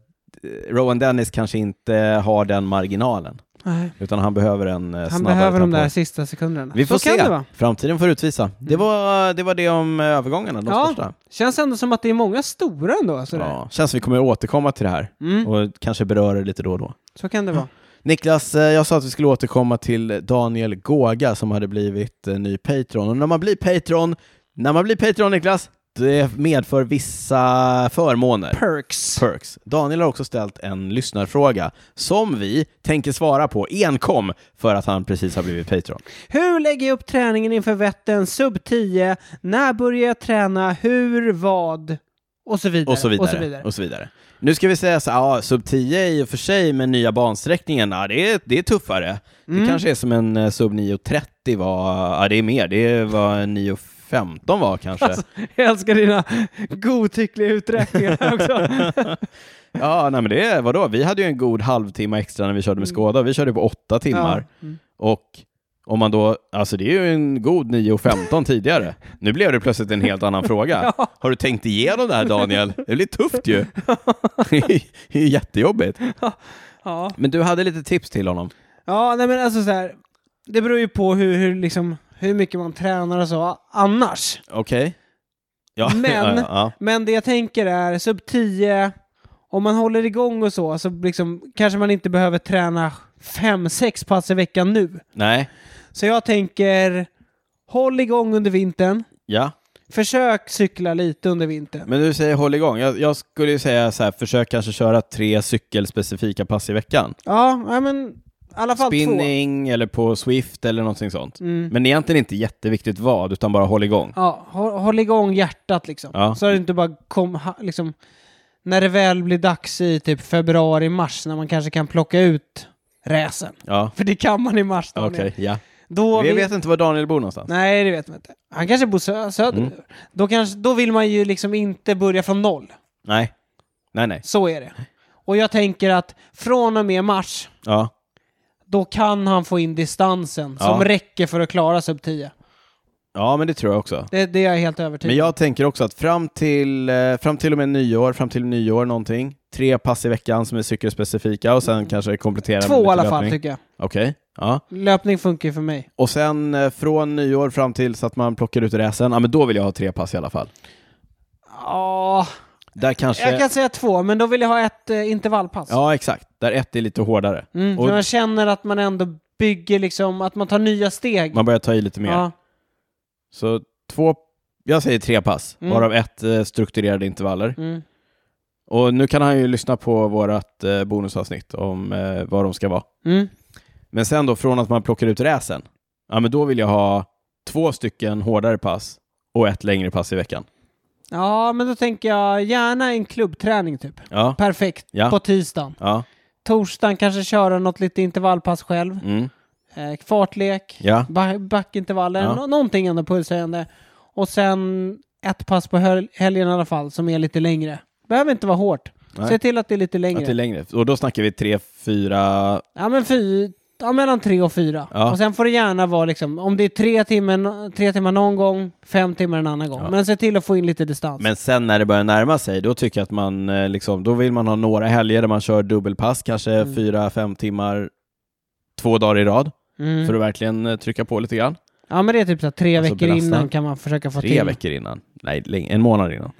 Rowan Dennis kanske inte har den marginalen,
Nej,
utan han behöver en eh,
han
snabbare
behöver de
tempo.
där sista sekunderna.
Vi får
Så kan det
se.
vara.
Framtiden får utvisa. Det var det, var det om eh, övergångarna, de
Ja.
största.
Känns ändå som att det är många stora ändå. Sådär.
Ja. Känns som vi kommer återkomma till det här
Mm,
och kanske beröra det lite då och då.
så kan det vara.
Niklas, eh, jag sa att vi skulle återkomma till Daniel Gåga som hade blivit eh, ny Patreon. Och när man blir Patreon, när man blir Patreon Niklas, det medför vissa förmåner.
Perks.
Perks. Daniel har också ställt en lyssnarfråga som vi tänker svara på enkom för att han precis har blivit Patreon.
Hur lägger jag upp träningen inför Vättern sub 10? När börjar jag träna? Hur? Vad? Och så vidare.
Och så vidare.
Och så vidare.
Nu ska vi säga så ja, sub 10 i och för sig med nya bansträckningen, ja, det, är, det är tuffare.
Mm.
Det kanske är som en eh, sub 9.30 var, ja det är mer, det var en 9.15 var kanske.
Alltså, Jag älskar dina godtyckliga uträkningar också.
Ja, nej men det, vadå, vi hade ju en god halvtimme extra när vi körde med Skoda, och vi körde på åtta timmar.
Mm. Ja. Mm.
Och om man då, alltså det är ju en god 9.15 tidigare. Nu blev det plötsligt en helt annan fråga. Har du tänkt igenom det här Daniel? Det blir tufft ju. det är ju jättejobbigt.
Ja.
Men du hade lite tips till honom.
ja, nej men alltså så här. Det beror ju på hur, hur, liksom, hur mycket man tränar och så annars.
Okej. Ja. ja,
Men-
ja,
Men det jag tänker är sub 10, om man håller igång och så, så liksom, kanske man inte behöver träna 5-6 pass i veckan nu.
Nej.
Så jag tänker, håll igång under vintern.
Ja.
Försök cykla lite under vintern.
Men du säger håll igång. Jag, jag skulle ju säga så här, försök kanske köra tre cykelspecifika pass i veckan.
Ja, ja men i alla fall två.
Spinning eller på Swift eller någonting sånt.
Mm.
Men egentligen inte jätteviktigt vad, utan bara håll igång.
Ja, håll, håll igång hjärtat liksom.
Ja.
Så att det inte bara kom, ha, liksom, när det väl blir dags i typ februari, mars, när man kanske kan plocka ut räsen.
Ja,
För det kan man i mars. Daniel.
okej. ja.
Då
Vi
vill-
vet inte var Daniel bor någonstans.
Nej, det vet man inte. Han kanske bor sö
Mm.
söderut. Då, kanske, då vill man ju liksom inte börja från noll.
Nej. Nej, nej.
Så är det. Och jag tänker att från och med mars,
Ja.
då kan han få in distansen
Ja.
som räcker för att klara sub 10.
ja, men det tror jag också.
Det, det är jag helt övertygad
Men jag tänker också att fram till, eh, fram till och med nyår, fram till nyår någonting, tre pass i veckan som är cykelspecifika och sen kanske komplettera
om.
med
Två i
lite
alla fall typ.
löpning.
tycker jag.
Okej, ja.
Löpning funkar ju för mig.
Och sen eh, från nyår fram till så att man plockar ut räsen, ja men då vill jag ha tre pass i alla fall.
Ja,
Där kanske...
jag kan säga två, men då vill jag ha ett eh, intervallpass.
Ja, exakt. Där ett är lite hårdare.
Mm,
Och-
för man känner att man ändå bygger liksom, att man tar nya steg.
Man börjar ta i lite mer.
ja.
Så två, jag säger tre pass,
Mm.
varav ett eh, strukturerade intervaller.
mm.
Och nu kan han ju lyssna på vårt eh, bonusavsnitt om eh, vad de ska vara.
Mm.
Men sen då från att man plockar ut räsen, ja men då vill jag ha två stycken hårdare pass och ett längre pass i veckan.
ja, men då tänker jag gärna en klubbträning typ.
Ja,
Perfekt,
Ja.
på tisdagen.
ja,
Torsdagen kanske köra något lite intervallpass själv.
mm.
Eh, fartlek,
ja,
ba- backintervaller,
Ja.
nå- någonting ändå pulshöjande. Och sen ett pass på hel- helgen i alla fall som är lite längre. Behöver inte vara hårt.
Nej.
Se till att det är lite längre.
att det är längre. Och då snackar vi tre, fyra,
Ja, men fy- ja, mellan tre och fyra.
Ja.
Och sen får det gärna vara liksom, om det är tre timmar, tre timmar någon gång, fem timmar en annan gång. Men se till att få in lite distans.
Men sen när det börjar närma sig, då tycker jag att man eh, liksom, då vill man ha några helger där man kör dubbelpass, kanske fyra, fem timmar, två dagar i rad,
mm.
för att verkligen eh, trycka på lite grann.
Ja, men det är typ så här, tre
Alltså,
veckor
belasta.
innan kan man försöka få
Tre
till.
veckor innan. Nej, läng- en månad innan.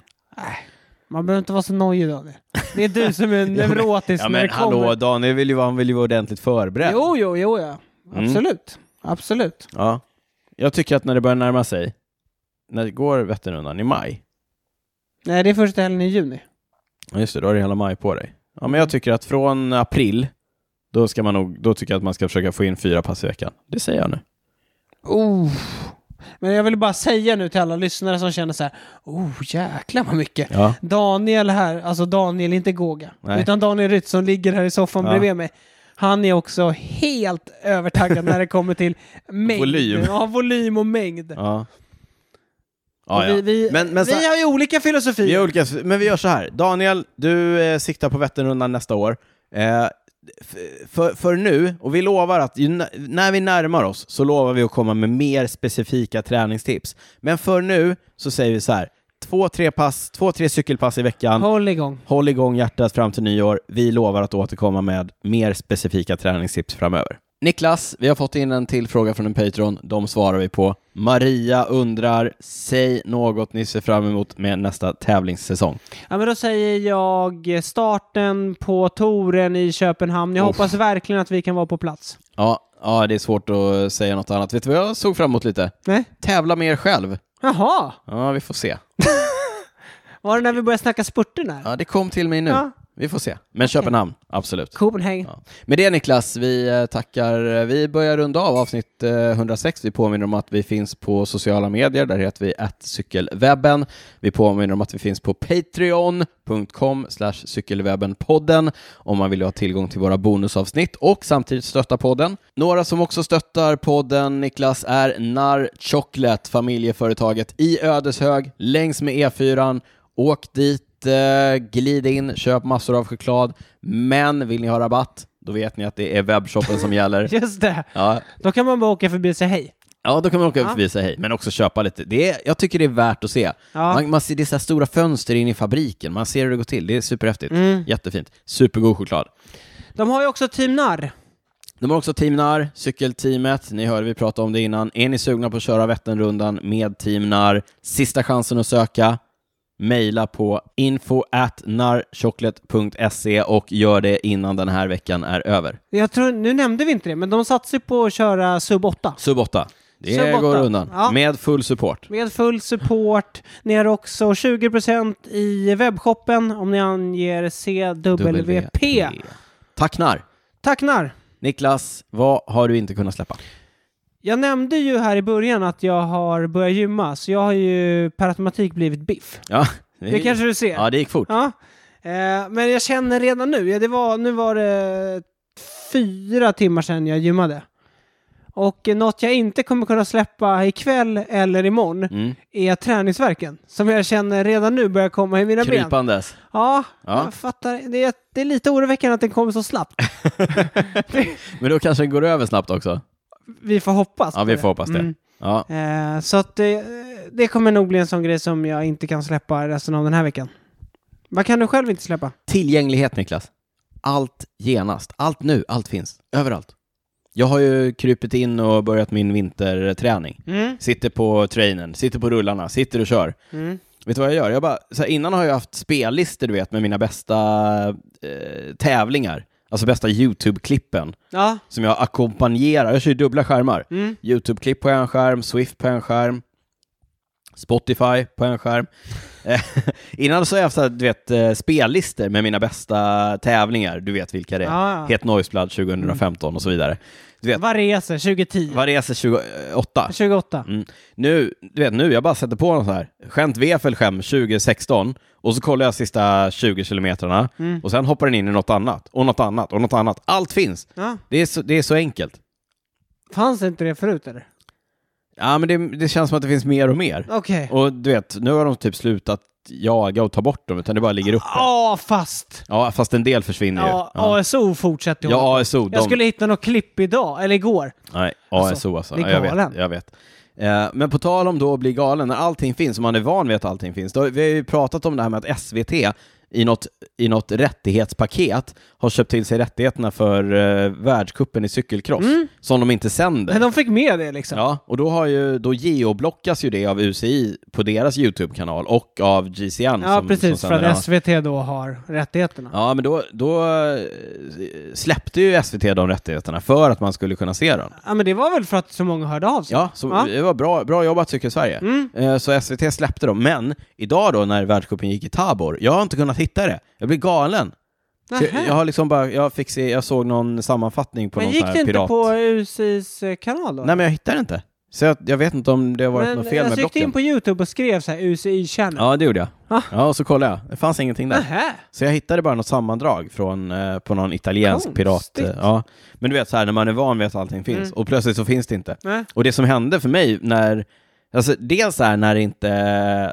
Man behöver inte vara så nojig Daniel. Det är du som är neurotisk
Ja
när
men
det kommer.
hallå, Daniel vill ju vara, han vill ju vara ordentligt förberedd.
Jo, jo, jo, ja.
Mm.
Absolut. Absolut.
Ja. Jag tycker att när det börjar närma sig, när det går Vätternrundan i maj,
Nej, det är första helgen i juni.
ja just det, då har du hela maj på dig. Ja men jag tycker att från april, då ska man nog, då tycker jag att man ska försöka få in fyra pass i veckan. Det säger jag nu.
Oh. Men jag vill bara säga nu till alla lyssnare som känner så här, oh jäklar vad mycket.
Ja.
Daniel här, alltså Daniel, inte Goga,
Nej.
utan Daniel Rytz som ligger här i soffan
Ja.
bredvid mig. Han är också helt övertaggad när det kommer till mängd.
Volym.
Ja, volym och mängd.
Ja.
Och
Ja, ja.
Vi, vi,
Men- men så-
vi har ju olika filosofier.
Vi har olika, men vi gör så här. Daniel, du eh, siktar på Vätternrundan nästa år. Eh, f- för, för nu, och vi lovar att ju, n- när vi närmar oss så lovar vi att komma med mer specifika träningstips. Men för nu så säger vi så här. två, tre, pass, två, tre cykelpass i veckan.
Håll igång.
Håll igång hjärtat fram till nyår. Vi lovar att återkomma med mer specifika träningstips framöver. Niklas, vi har fått in en till fråga från en Patreon. De svarar vi på. Maria undrar, säg något ni ser fram emot med nästa tävlingssäsong.
Ja, men då säger jag starten på touren i Köpenhamn. Jag
Uff.
hoppas verkligen att vi kan vara på plats.
Ja, ja, det är svårt att säga något annat. Vet du vad jag såg fram emot lite?
Nej?
Tävla med er själv.
Jaha!
Ja, vi får se.
Var det när vi började snacka spurten här?
Ja, det kom till mig nu.
Ja.
Vi får se. Men Köpenhamn, absolut.
Copenhagen.
Ja. Med det Niklas, vi eh, tackar. Vi börjar runda av avsnitt eh, 106. Vi påminner om att vi finns på sociala medier. Där heter vi cykelwebben. Vi påminner om att vi finns på patreon.com cykelwebbenpodden om man vill ha tillgång till våra bonusavsnitt och samtidigt stötta podden. Några som också stöttar podden Niklas är Narr Chocolate, familjeföretaget i Ödeshög längs med E E4. Åk dit, eh, glid in, köp massor av choklad. Men vill ni ha rabatt, då vet ni att det är webbshoppen som gäller.
Just det.
Ja,
Då kan man bara åka förbi och säga hej.
ja, då kan man åka
Ja.
förbi och säga hej, men också köpa lite. Det är, jag tycker det är värt att se.
Ja.
Man, man ser, det är så här stora fönster in i fabriken, man ser hur det går till. Det är superhäftigt.
Mm.
Jättefint. Supergod choklad.
De har ju också Team Narr.
De har också Team NAR, cykelteamet. Ni hörde vi prata om det innan. Är ni sugna på att köra Vätternrundan med Team NAR? Sista chansen att söka. Mejla på info at narchocolate.se och gör det innan den här veckan är över.
Jag tror, nu nämnde vi inte det, men de satsar ju på att köra sub 8.
Sub 8. Det
Sub 8.
går undan.
Ja.
Med full support.
Med full support. Ni har också 20% i webbshoppen om ni anger CWP.
Tack NAR.
Tack Narr!
Niklas, vad har du inte kunnat släppa?
Jag nämnde ju här i början att jag har börjat gymma, så jag har ju per automatik blivit biff.
Ja,
Det kanske du ser.
Ja, det gick fort.
Ja. Eh, men jag känner redan nu, ja, det var, nu var det fyra timmar sedan jag gymmade. Och eh, något jag inte kommer kunna släppa ikväll eller imorgon
Mm.
är träningsverken som jag känner redan nu börjar komma i mina ben.
Krypandes.
Ja,
Ja.
jag fattar. Det är, det är lite oroväckande att den kommer så slappt.
Men då kanske den går över snabbt också.
Vi får hoppas.
Ja,
på
vi får hoppas det.
Mm.
Ja.
Eh, så att det, det kommer nog bli en sån grej som jag inte kan släppa resten av den här veckan. Vad kan du själv inte släppa?
Tillgänglighet, Niklas. Allt genast. Allt nu. Allt finns. Överallt. Jag har ju krypit in och börjat min vinterträning.
Mm.
Sitter på trainern, sitter på rullarna, sitter och kör.
Mm.
Vet du vad jag gör? Jag bara, så här, innan har jag haft spellistor, du vet, med mina bästa eh, tävlingar. Alltså bästa YouTube-klippen
Ja.
som jag ackompanjerar. Jag kör ju dubbla skärmar.
Mm.
YouTube-klipp på en skärm, Swift på en skärm, Spotify på en skärm. Eh, Innan så har jag haft så här, du vet, eh, spellistor med mina bästa tävlingar, du vet vilka det är.
Ja, ja.
Het Noiseblad 2015 och så vidare. Du vet,
Vad reser 2010?
vad reser 28?
28.
eh, Mm. Nu, du vet, nu, jag bara sätter på något så här, skämt Wefelschem 2016, och så kollar jag sista 20 kilometrarna, och sen hoppar den in i något annat, och något annat, och något annat. Allt finns!
Ja.
Det är så, det är så enkelt.
Fanns inte det förut eller?
Ja, men det, det känns som att det finns mer och mer.
Okej.
Och du vet, nu har de typ slutat jaga och ta bort dem, utan det bara ligger uppe.
Ja, fast.
Ja, fast en del försvinner ju.
Ja, ASO fortsätter ju hålla
ja
på.
ASO. De...
Jag skulle hitta något klipp idag, eller igår.
Nej,
Alltså,
ASO alltså.
bli
Ja, jag
galen.
vet. Jag vet. Eh, Men på tal om då att bli galen, när allting finns, och man är van vid att allting finns, då, vi har ju pratat om det här med att SVT i något, i något rättighetspaket har köpt till sig rättigheterna för eh, världscupen i cykelcross, som de inte sänder.
Mm. Men de fick med det liksom.
Ja, och då, har ju, då geoblockas ju det av UCI på deras YouTube-kanal och av GCN.
Ja,
som,
precis.
som
för
sänder.
att SVT då har rättigheterna.
Ja, ja men då, då eh, släppte ju SVT de rättigheterna för att man skulle kunna se dem.
Ja, men det var väl för att så många hörde av sig?
Ja, så
Ja. Mm.
det var bra, bra jobbat Cykelsverige. Eh, Så SVT släppte dem, men idag då när världscupen gick i Tabor, jag har inte kunnat hitta det. Jag blev galen. Så jag,
Nähä.
jag har liksom bara, jag fick se, jag såg någon sammanfattning på
men
någon
gick
sån här
det inte
pirat...
på UCIs kanal då?
Nej men jag hittar inte. Så jag, jag vet inte om det har varit
men
något fel med
jag gick
blocken.
in på YouTube och skrev så här UCI channel.
Ja, det gjorde jag.
Ah.
Ja, och så kollade jag. Det fanns ingenting där.
Nähä.
Så jag hittade bara något sammandrag från, eh, på någon italiensk pirat. eh,
Konstigt. Mm.
Ja. Men du vet så här när man är van vid att allting finns och plötsligt så finns det inte.
Nej.
Och det som hände för mig när, alltså dels så här när, inte,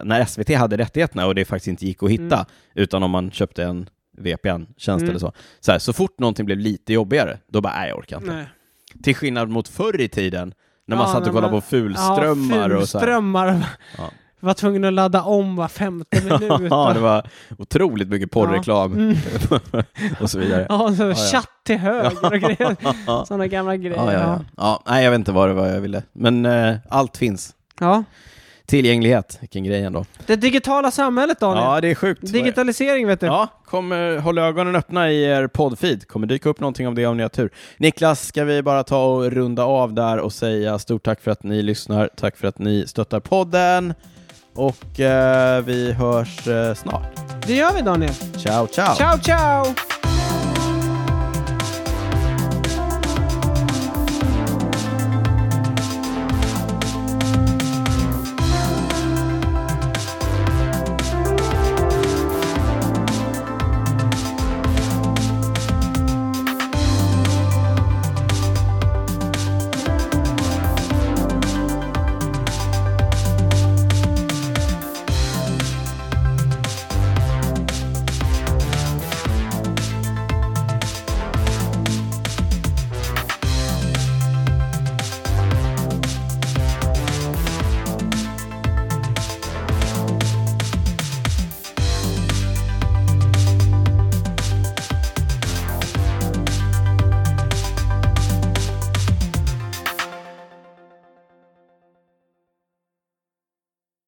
när SVT hade rättigheterna och det faktiskt inte gick att hitta,
Mm.
utan om man köpte en VPN-tjänst eller så. Så, här, så fort någonting blev lite jobbigare, då bara, nej jag orkar inte.
Mm. Nej.
Till skillnad mot förr i tiden, när man
Ja,
satt
när
och kollade
man-
på fulströmmar
ja,
och så här.
fulströmmar.
Ja.
var tvungen att ladda om var femte minut.
Ja, det var otroligt mycket porrreklam och så vidare.
Ja, så
Mm. ja.
chatt till höger och grejer.
Ja,
Sådana gamla grejer.
ja, ja. ja, nej, jag vet inte vad det var jag ville, men eh, allt finns.
Ja.
Tillgänglighet, vilken grej ändå.
Det digitala samhället, Daniel.
Ja, det är sjukt.
Digitalisering, vet du.
Ja, kommer, håll ögonen öppna i er poddfeed. kommer dyka upp någonting om det om ni har tur. Niklas, ska vi bara ta och runda av där och säga stort tack för att ni lyssnar, tack för att ni stöttar podden och eh, vi hörs eh, snart.
Det gör vi, Daniel.
Ciao, ciao!
Ciao, ciao!